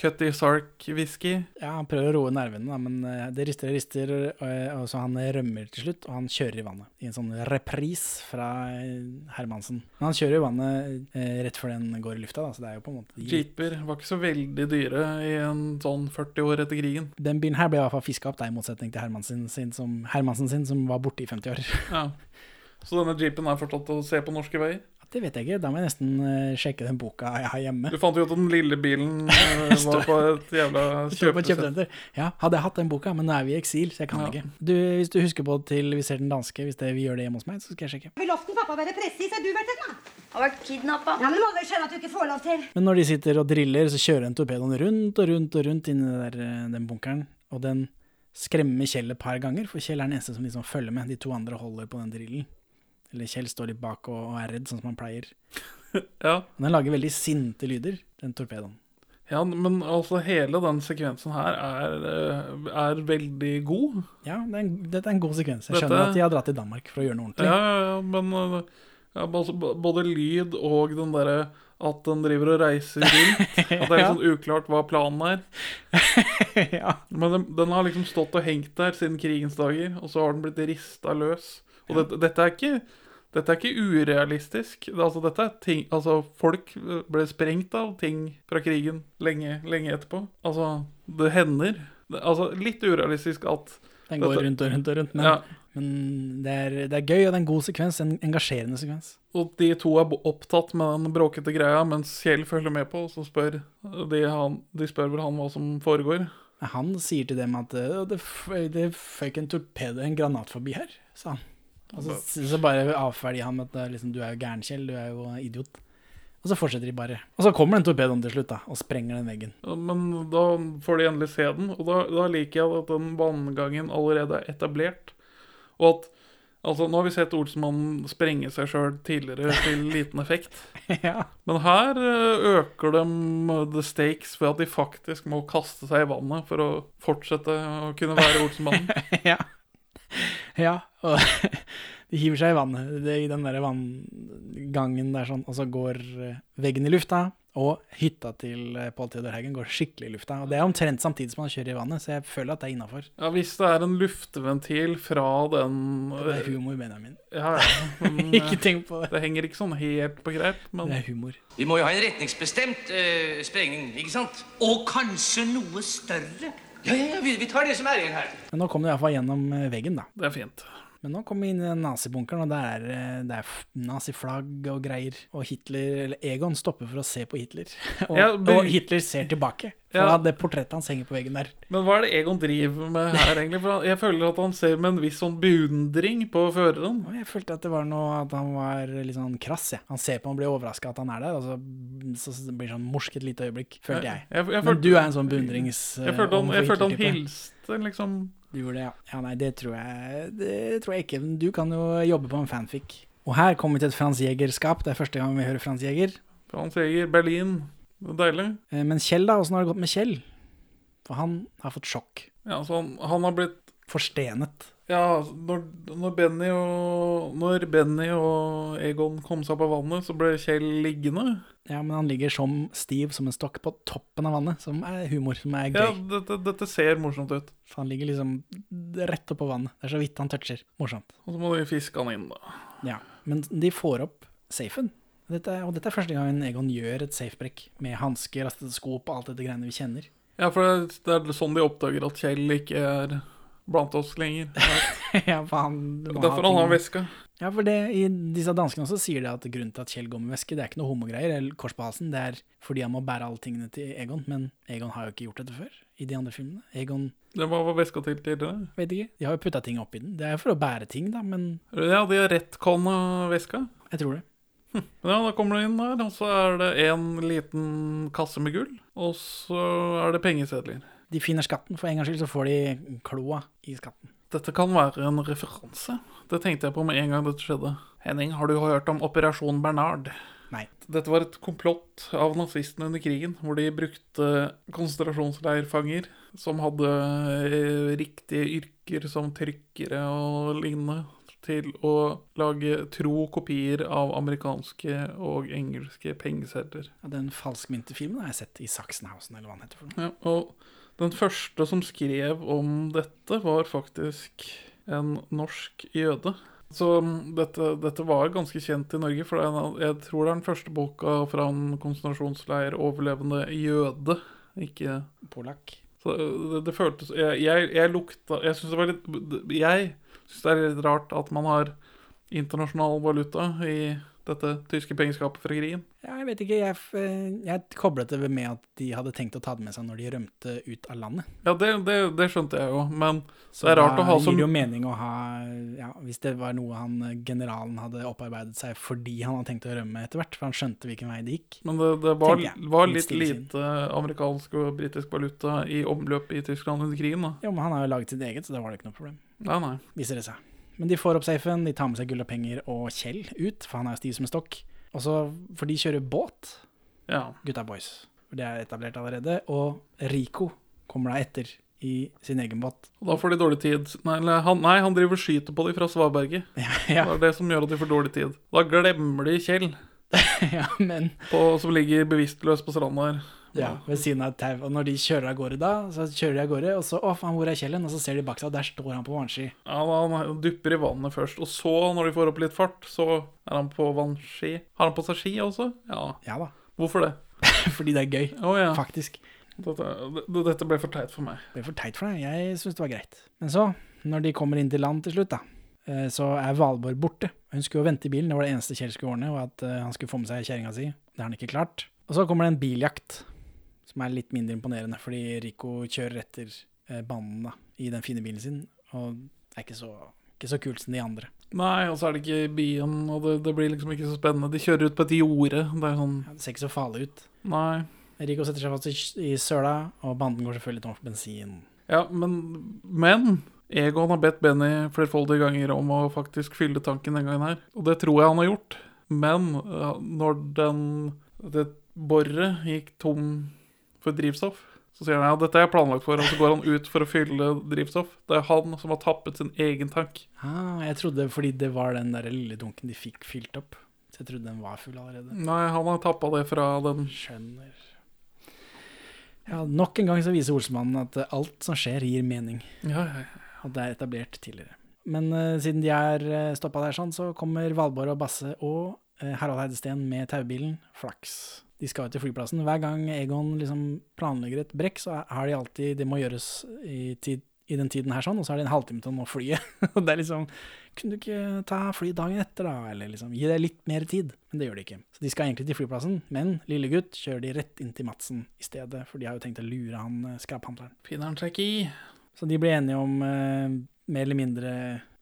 Cutty Sark-whisky. Ja, han prøver å roe nervene, da, men eh, det rister og rister, eh, og så han rømmer til slutt, og han kjører i vannet. I en sånn repris fra eh, Hermansen. Men han kjører i vannet eh, rett før den går i lufta, da, så det er jo på en måte Jeeper var ikke så veldig dyre i en sånn 40 år etter krigen. Den bilen her ble i hvert fall fiska opp, da, i motsetning til Hermansen sin, som, Hermansen sin, som var borte i 50 år. Ja. Så denne jeepen er fortsatt å se på norske veier? Det vet jeg ikke, da må jeg nesten eh, sjekke den boka jeg har hjemme. Du fant jo ut at den lille bilen eh, var på et jævla Står på et kjøpesenter. kjøpesenter. Ja, hadde jeg hatt den boka, men nå er vi i eksil, så jeg kan Ja. ikke. Du, hvis du husker på til Vi ser den danske, hvis det, vi gjør det hjemme hos meg, så skal jeg sjekke. Vil often pappa være presis? Har du vært det, da? Har vært kidnappa. Ja, men du må vel skjønne at du ikke får lov til. Men når de sitter og driller, så kjører en torpedoen rundt og rundt og rundt inni der, eh, den bunkeren, og den skremme Kjell et par ganger, for Kjell er den eneste som liksom følger med. De to andre holder på den drillen. Eller Kjell står litt bak og, og er redd, sånn som han pleier. Ja. Den lager veldig sinte lyder, den torpedoen. Ja, men altså hele den sekvensen her er, eh, er veldig god. Ja, det er en, dette er en god sekvens. Jeg Dette- skjønner at de har dratt til Danmark for å gjøre noe ordentlig. Ja, ja, ja, men eh, ja, b- altså, b- både lyd og den derre at den driver og reiser rundt. At det er Ja. liksom uklart hva planen er. Men den, den har liksom stått og hengt der siden krigens dager, og så har den blitt rista løs. Og Ja. dette, dette er ikke dette er ikke urealistisk. Det, altså, dette er ting, altså, folk eh, ble sprengt av ting fra krigen lenge, lenge etterpå. Altså, det hender. Det, altså, litt urealistisk at Den går dette- rundt og rundt og rundt, men, Ja, men det, er, det er gøy, og det er en god sekvens. En engasjerende sekvens. Og de to er bo- opptatt med den bråkete greia, mens Kjell følger med på, og så spør de, han, de spør vel han hva som foregår. Men Han sier til dem at «Å, det, f- det føk en torpedo, en granat forbi her, sa han. Og så, så bare avferdiger han med at det er liksom, du er jo gæren, Kjell, du er jo idiot. Og så fortsetter de bare. Og så kommer den torpedoen til slutt, da, og sprenger den veggen. Men da får de endelig se den, og da, da liker jeg at den vanngangen allerede er etablert. Og at Altså, nå har vi sett Olsenmannen sprenge seg sjøl tidligere til liten effekt. Men her ø, øker de the stakes ved at de faktisk må kaste seg i vannet for å fortsette å kunne være Olsenmannen. ja. Ja, og de hiver seg i vannet, det, i den der vanngangen der sånn, og så går eh, veggen i lufta, og hytta til eh, Pål Theodor Haugen går skikkelig i lufta. Og det er omtrent samtidig som han kjører i vannet, så jeg føler at det er innafor. Ja, hvis det er en luftventil fra den Det er humor, Benjamin. Ja, ja. Men, eh, Ikke tenk på det. Det henger ikke sånn helt på greip, men Det er humor. Vi må jo ha en retningsbestemt eh, sprengning, ikke sant? Og kanskje noe større. Ja, ja, ja, vi, vi tar det som er igjen her. Men nå kom det iallfall gjennom eh, veggen, da. Det er fint. Men nå kom vi inn i den nazibunkeren, og der er eh, det er f- naziflagg og greier. Og Hitler, eller Egon stopper for å se på Hitler. Og, Ja, men- og Hitler ser tilbake. For Ja. at det portrettet hans henger på veggen der. Men hva er det Egon driver med her, egentlig? For han- jeg føler at han ser med en viss sånn beundring på føreren. Og Jeg følte at det var noe at han var litt sånn krass. jeg. Han ser på og blir overraska at han er der, og så, så blir det sånn morsk et lite øyeblikk, følte jeg. jeg, Men jeg følte- du er en sånn beundrings... Jeg følte han, eh, jeg følte han overfor Hitler-type. hilste, liksom. Du gjorde det, ja. ja. Nei, det tror jeg Det tror jeg ikke. Men du kan jo jobbe på en fanfic. Og her kommer vi til et Frans Jæger-skap. Det er første gang vi hører Frans Jæger. Frans Jæger, Berlin. Det er deilig. Eh, Men Kjell, da? Åssen har det gått med Kjell? For han har fått sjokk. Ja, så han, han har blitt Forstenet. Ja, når, når, Benny og, når Benny og Egon kom seg på vannet, så ble Kjell liggende. Ja, men han ligger som stiv som en stokk på toppen av vannet, som er humor, som er gøy. Ja, dette, dette ser morsomt ut. For han ligger liksom rett oppå vannet. Det er så vidt han toucher. Morsomt. Og så må vi fiske han inn, da. Ja, men de får opp safen. Dette er, og dette er første gangen Egon gjør et safebrekk med hansker, rastete sko på alt dette greiene vi kjenner. Ja, for det, det er sånn de oppdager at Kjell ikke er blant oss lenger. ja, for han må ha Derfor han har ting- veska. Ja, for det, i disse danskene også sier det at grunnen til at Kjell går med veske, det er ikke noe homogreier eller kors på halsen, det er fordi han må bære alle tingene til Egon, men Egon har jo ikke gjort dette før i de andre filmene. Egon, Det var, var veska til tidligere. vet ikke, de har jo putta ting opp i den. Det er jo for å bære ting, da, men Ja, de har rettkonna veska. jeg tror det. Men ja, da kommer du inn der, og så er det en liten kasse med gull. Og så er det pengesedler. De finner skatten, for en gangs skyld så får de kloa i skatten. Dette kan være en referanse. Det tenkte jeg på med en gang dette skjedde. Henning, har du hørt om Operasjon Bernard? Nei. Dette var et komplott av nazistene under krigen, hvor de brukte konsentrasjonsleirfanger som hadde eh, riktige yrker som trykkere og lignende, til å lage tro kopier av amerikanske og engelske pengesedler. Ja, den falskmynte filmen har jeg sett i Sachsenhausen, eller hva den heter for noe. Ja, og den første som skrev om dette, var faktisk en norsk jøde. Så mm, dette, dette var ganske kjent i Norge, for det er en av- jeg tror det er den første boka fra en konsentrasjonsleir-overlevende jøde. Ikke Polakk. Så øh, det, det føltes Jeg, jeg, jeg lukta Jeg syns det var litt Jeg synes det er litt rart at man har internasjonal valuta i dette tyske pengeskapet fra krigen. Ja, Jeg vet ikke, jeg, f- eh, jeg koblet det med at de hadde tenkt å ta det med seg når de rømte ut av landet. Ja, det, det, det skjønte jeg jo, men Så det er rart da å ha gir som det jo mening å ha ja, Hvis det var noe han, eh, generalen hadde opparbeidet seg fordi han hadde tenkt å rømme etter hvert, for han skjønte hvilken vei det gikk. Men det, det var, tenker jeg, var litt litt stille sinn. lite amerikansk og britisk valuta i omløp i Tyskland under krigen, da. Jo, men han har jo laget sitt eget, så det var det ikke noe problem. Nei, nei. Viser det seg. Men de får opp safen, de tar med seg gull og penger og Kjell ut, for han er jo stiv som en stokk. Og så, For de kjører båt, Ja. gutta boys. Det er etablert allerede. Og Rico kommer da etter i sin egen båt. Og da får de dårlig tid. Nei, eller han, nei, han driver og skyter på de fra Svaberget. Det er det som gjør at de får dårlig tid. Da glemmer de Kjell, på, som ligger bevisstløs på stranda her. Ja, ved siden av et tau. Og når de kjører av gårde da, så kjører de av gårde, og så å faen, hvor er Kjellen? Og så ser de bak seg, og der står han på vannski. Ja, da, han dupper i vannet først, og så, når de får opp litt fart, så er han på vannski. Har han på seg ski også? Ja. Ja da. Hvorfor det? Fordi det er gøy, faktisk. Dette, det- dette ble for teit for meg. Det ble for teit for deg. Jeg syns det var greit. Men så, når de kommer inn til land til slutt, da, eh, så er Valborg borte. Hun skulle jo vente i bilen, det var det eneste Kjell skulle ordne, og at eh, han skulle få med seg kjerringa si. Det har han ikke klart. Og så kommer det en biljakt, som er litt mindre imponerende, fordi Rico kjører etter eh, banen da, i den fine bilen sin, og det er ikke så, ikke så kult som de andre. Nei, og så er det ikke i byen, og det, det blir liksom ikke så spennende. De kjører ut på et jorde. Det er sånn Det ser ikke så farlig ut. Nei. Rico setter seg fast i, i søla, og banden går selvfølgelig tom for bensin. Ja, men, men Egon har bedt Benny flerfoldige ganger om å faktisk fylle tanken den gangen her. Og det tror jeg han har gjort. Men ja, når den, det boret gikk tom for drivstoff, så sier han ja, dette er jeg planlagt for, og så går han ut for å fylle drivstoff. Det er han som har tappet sin egen tank. Ah, jeg trodde fordi det var den der lille dunken de fikk fylt opp. Så jeg trodde den var full allerede. Nei, han har tappa det fra den Skjønner. Ja, Nok en gang så viser Olsmannen at eh, alt som skjer, gir mening. Ja, ja, At det er etablert tidligere. Men eh, siden de er uh, stoppa der sånn, så kommer Valborg og Basse og eh, Harald Heidesteen med taubilen. Flaks. De skal jo til flyplassen. Hver gang Egon liksom planlegger et brekk, så er- har de alltid Det må gjøres i, tid, i den tiden her sånn, og så har de en halvtime til å nå flyet. Og det er liksom Kunne du ikke ta fly dagen etter, da? Eller liksom gi deg litt mer tid? Men det gjør de ikke. Så de skal egentlig til flyplassen, men lille gutt kjører de rett inn til Madsen i stedet, for de har jo tenkt å lure han eh, skraphandleren. Finner han seg ikke i. Så de blir enige om, eh, mer eller mindre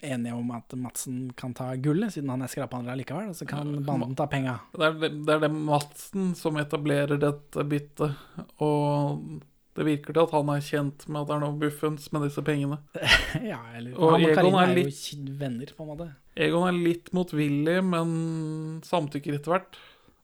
enige om at Madsen kan ta gullet, siden han er skraphandler likevel, og så kan banden ta penga. Det er, det er det Madsen som etablerer dette byttet, og det virker til at han er kjent med at det er noe buffens med disse pengene. ja, eller og Han og Egon Karina er er, jo litt, ki- venner, på en måte. Egon er litt motvillig, men samtykker etter hvert.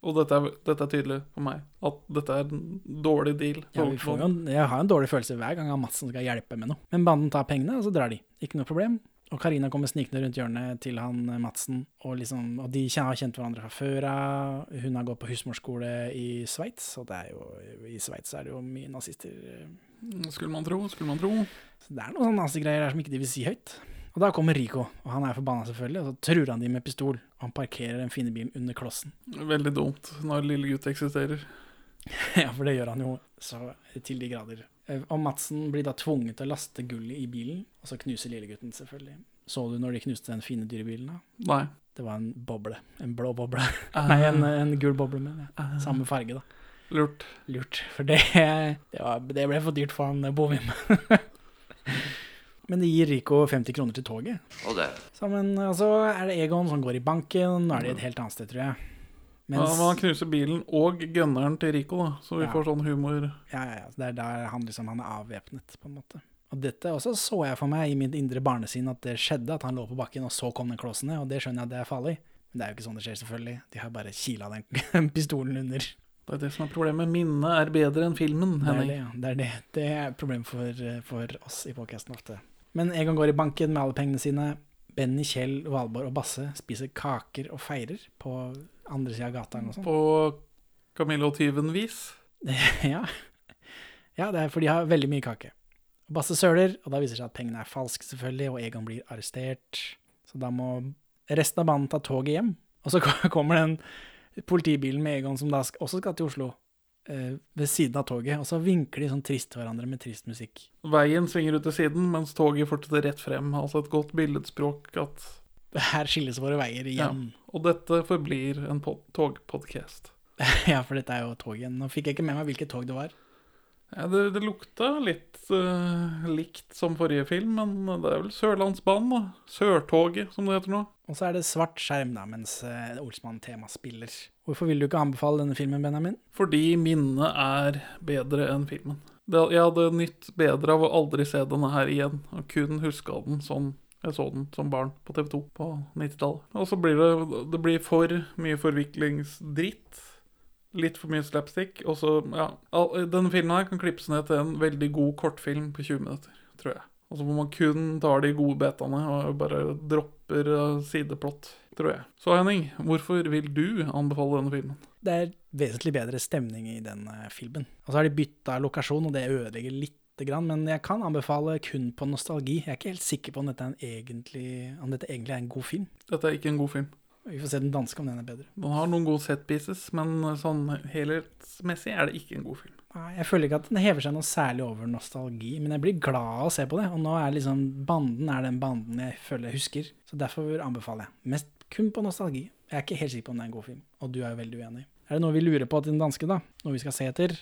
Og dette er, dette er tydelig for meg, at dette er en dårlig deal. Ja, vi får jo en, jeg har en dårlig følelse hver gang han Madsen skal hjelpe med noe. Men banden tar pengene, og så drar de. Ikke noe problem. Og Karina kommer snikende rundt hjørnet til han eh, Madsen, og, liksom, og de kjen- har kjent hverandre fra før av. Hun har gått på husmorskole i Sveits, og det er jo, i Sveits er det jo mye nazister. eh. Skulle man tro, skulle man tro. Så det er noen sånne nazigreier der som ikke de vil si høyt. Og da kommer Rico, og han er forbanna selvfølgelig, og så truer han de med pistol. Og han parkerer den fine bilen under klossen. Veldig dumt når lille gutt eksisterer. ja, for det gjør han jo så til de grader. Eh, Og Madsen blir da tvunget til å laste gullet i bilen, og så knuser lillegutten selvfølgelig. Så du når de knuste den fine dyrebilen da? Nei. Det var en boble. En blå boble. Ah. Nei, en, en gul boble, mener jeg. Samme farge, da. Lurt. Lurt. For det, det, var, det ble for dyrt for han eh, Bovim. Men det gir Rico 50 kroner til toget. Og det. Så, men altså, er det Egon som går i banken? Nå er Mm. de et helt annet sted, tror jeg. Ja, men han knuser bilen og gønneren til Rico, da, så vi Ja. får sånn humor. Ja, ja, ja. Det er der han liksom han er avvæpnet, på en måte. Og dette også så jeg for meg i mitt indre barnesinn at det skjedde, at han lå på bakken, og så kom den klossen ned, og det skjønner jeg at det er farlig. Men det er jo ikke sånn det skjer, selvfølgelig. De har bare kila den pistolen under. Det er det som er problemet. Minnet er bedre enn filmen, Det er Henning. det, ja. det er det. Det er problemet for, for oss i podcasten ofte. Men Egon går i banken med alle pengene sine. Benny, Kjell, Valborg og Basse spiser kaker og feirer på andre sida av gata. eller noe sånt. På Camille og tyven-vis. ja. ja, det er for de har veldig mye kake. Basse søler, og da viser det seg at pengene er falske, selvfølgelig, og Egon blir arrestert. Så da må resten av banen ta toget hjem. Og så kommer den politibilen med Egon, som da sk- også skal til Oslo, eh, ved siden av toget. Og så vinker de sånn trist til hverandre med trist musikk. Veien svinger ut til siden, mens toget fortsetter rett frem. Altså et godt billedspråk at Her skilles våre veier igjen. Og dette forblir en pod- togpodcast. Ja. for dette er jo tog igjen. Nå fikk jeg ikke med meg hvilket tog det var. Ja, det, det lukta litt eh, likt som forrige film, men det er vel Sørlandsbanen, da. Sørtoget, som det heter nå. Og så er det svart skjerm, da, mens eh, Olsmann tema spiller. Hvorfor vil du ikke anbefale denne filmen, Benjamin? Fordi minnet er bedre enn filmen. Det, jeg hadde nytt bedre av å aldri se denne her igjen, og kun huska den sånn jeg så den som barn på TV2 på 90-tallet. Og så blir det, det blir for mye forviklingsdritt. Litt for mye slapstick. Og så, ja all- Denne filmen her kan klippes ned til en veldig god kortfilm på 20 minutter, tror jeg. Og så må man kun ta de gode betaene og bare dropper eh, sideplott, tror jeg. Så Henning, hvorfor vil du anbefale denne filmen? Det er vesentlig bedre stemning i den eh, filmen. Og så har de bytta lokasjon, og det ødelegger lite grann. Men jeg kan anbefale kun på nostalgi. Jeg er ikke helt sikker på om dette, er en egentlig, om dette egentlig er en god film. Dette er ikke en god film. Vi får se den danske om den er bedre. Den har noen gode set pieces, men sånn helhetsmessig er det ikke en god film. Nei, Jeg føler ikke at den hever seg noe særlig over nostalgi, men jeg blir glad av å se på det. Og nå er liksom banden er den banden jeg føler jeg husker, så derfor anbefaler jeg. Mest kun på nostalgi. Jeg er ikke helt sikker på om det er en god film, og du er jo veldig uenig. Er det noe vi lurer på til den danske, da? Noe vi skal se etter?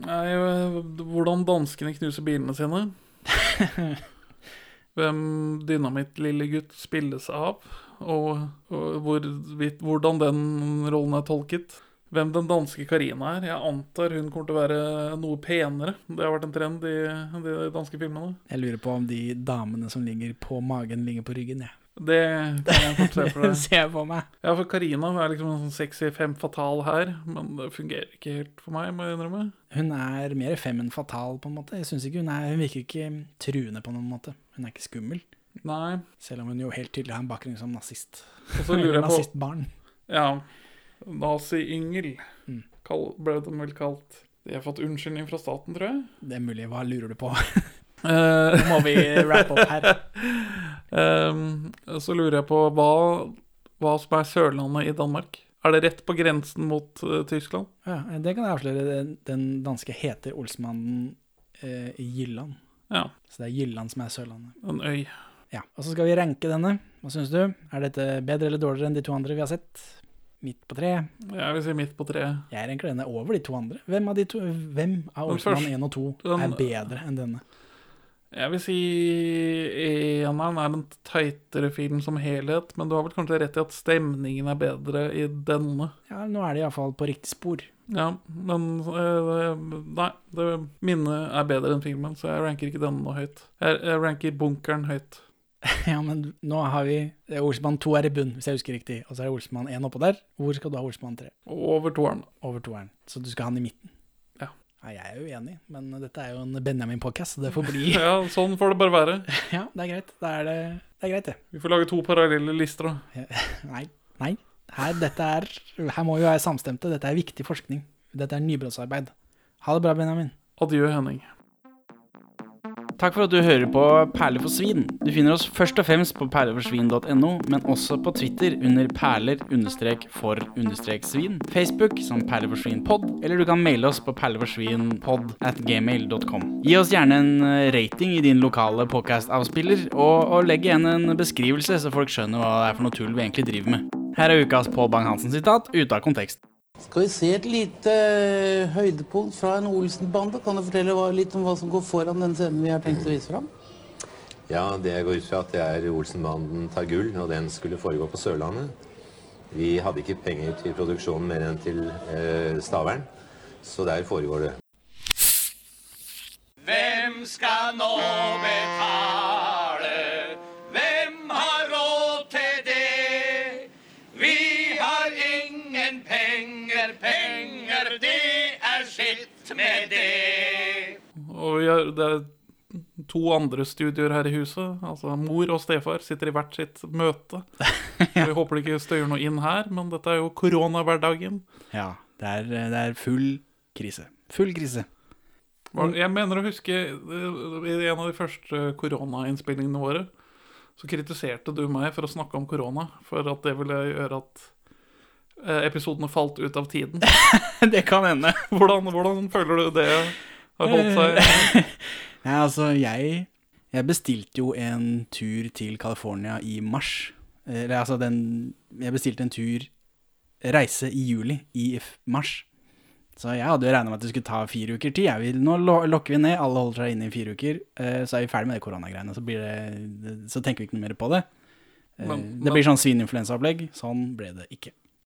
Nei, øh, hvordan danskene knuser bilene sine. Hvem Dynamitt-lille gutt spilles av, og, og hvorvidt- hvordan den rollen er tolket. Hvem den danske Karina er. Jeg antar hun kommer til å være noe penere. Det har vært en trend i de danske filmene. Jeg lurer på om de damene som ligger på magen, ligger på ryggen, jeg. Det kan jeg fort se for deg. Det ser jeg for meg. Ja, for Karina er liksom en sånn sexy fem fatal her, men det fungerer ikke helt for meg, må jeg innrømme. Hun er mer fem enn fatal, på en måte. Jeg synes ikke hun, er, hun virker ikke truende på noen måte. Hun er ikke skummel. Nei. Selv om hun jo helt tydelig har en bakgrunn som nazist. Og så lurer jeg på Nazistbarn. Ja. Nazi-yngel Mm. kall- ble de vel kalt. De har fått unnskyldning fra staten, tror jeg. Det er mulig. Hva lurer du på? Eh, Nå må vi wrap opp her. Ehm, så lurer jeg på hva, hva som er Sørlandet i Danmark. Er det rett på grensen mot eh, Tyskland? Ja, det kan jeg avsløre. Den, den danske heter Olsmannen eh, i Jylland. Ja. Så det er Jylland som er Sørlandet. En øy. Ja, Og så skal vi ranke denne. Hva syns du? Er dette bedre eller dårligere enn de to andre vi har sett? Midt på treet. Jeg vil si midt på treet. Jeg ranker denne over de to andre. Hvem av, de to, hvem av Den Olsmann første- 1 og 2 den- er bedre enn denne? Jeg vil si eneren er en teitere film som helhet, men du har vel kanskje rett i at stemningen er bedre i denne. Ja, Nå er de iallfall på riktig spor. Ja, men eh, Nei, det, minnet er bedre enn filmen, så jeg ranker ikke denne noe høyt. Jeg, jeg ranker bunkeren høyt. Ja, men nå har vi det er Olsmann 2 er i bunn, hvis jeg husker riktig. Og så er det Olsmann 1 oppå der. Hvor skal du ha Olsmann 3? Over toeren. Over toeren. Så du skal ha den i midten? Ja. jeg er jo enig, men dette er jo en Benjamin-podkast, så det får bli Ja, sånn får det bare være. Ja, det er greit. Da er det, det er greit, det. Vi får lage to parallelle lister, da. Nei. Nei. Her, dette er, her må vi være samstemte. Dette er viktig forskning. Dette er nybrottsarbeid. Ha det bra, Benjamin. Adjø, Henning. Takk for at du hører på Perler for svin. Du finner oss først og fremst på perleforsvin.no, men også på Twitter under perler-for-svin, Facebook som perleforsvinpod, eller du kan maile oss på perleforsvinpod at gmail.com. Gi oss gjerne en eh, rating i din lokale podcast-avspiller, og, og legg igjen en beskrivelse, så folk skjønner hva det er for noe tull vi egentlig driver med. Her er ukas Pål Bang-Hansen-sitat ute av kontekst. Skal vi se et lite eh, høydepunkt fra en Olsen-bande? Kan du fortelle hva- litt om hva som går foran den scenen vi har tenkt å vise fram? Ja, det går ut fra at det er Olsenbanden tar gull, og den skulle foregå på Sørlandet. Vi hadde ikke penger til produksjonen mer enn til eh, Stavern, så der foregår det. Hvem skal nå betale? Hvem har råd til det? Vi har ingen penger, penger, det er skitt med det. Og vi har, det er to andre studioer her i huset. Altså Mor og stefar sitter i hvert sitt møte. Så Vi håper det ikke støyer noe inn her, men dette er jo koronahverdagen. Ja, det er, det er full krise. Full krise. Mm. Var- Jeg mener å huske eh, i en av de første koronainnspillingene våre, så kritiserte du meg for å snakke om korona, for at det ville gjøre at eh, episodene falt ut av tiden. det kan hende. Hvordan, hvordan føler du det har holdt seg? Nei, altså, jeg, jeg bestilte jo en tur til California i mars. Eller altså den Jeg bestilte en tur reise i juli, i f- mars. Så jeg hadde jo regna med at det skulle ta fire uker tid. Jeg vil, nå lo- lokker vi ned, alle holder seg inne i fire uker. eh, Så er vi ferdig med det koronagreiene. Så, blir det, så tenker vi ikke noe mer på det. Eh, Men- det blir sånn svineinfluensaopplegg. Sånn ble det ikke.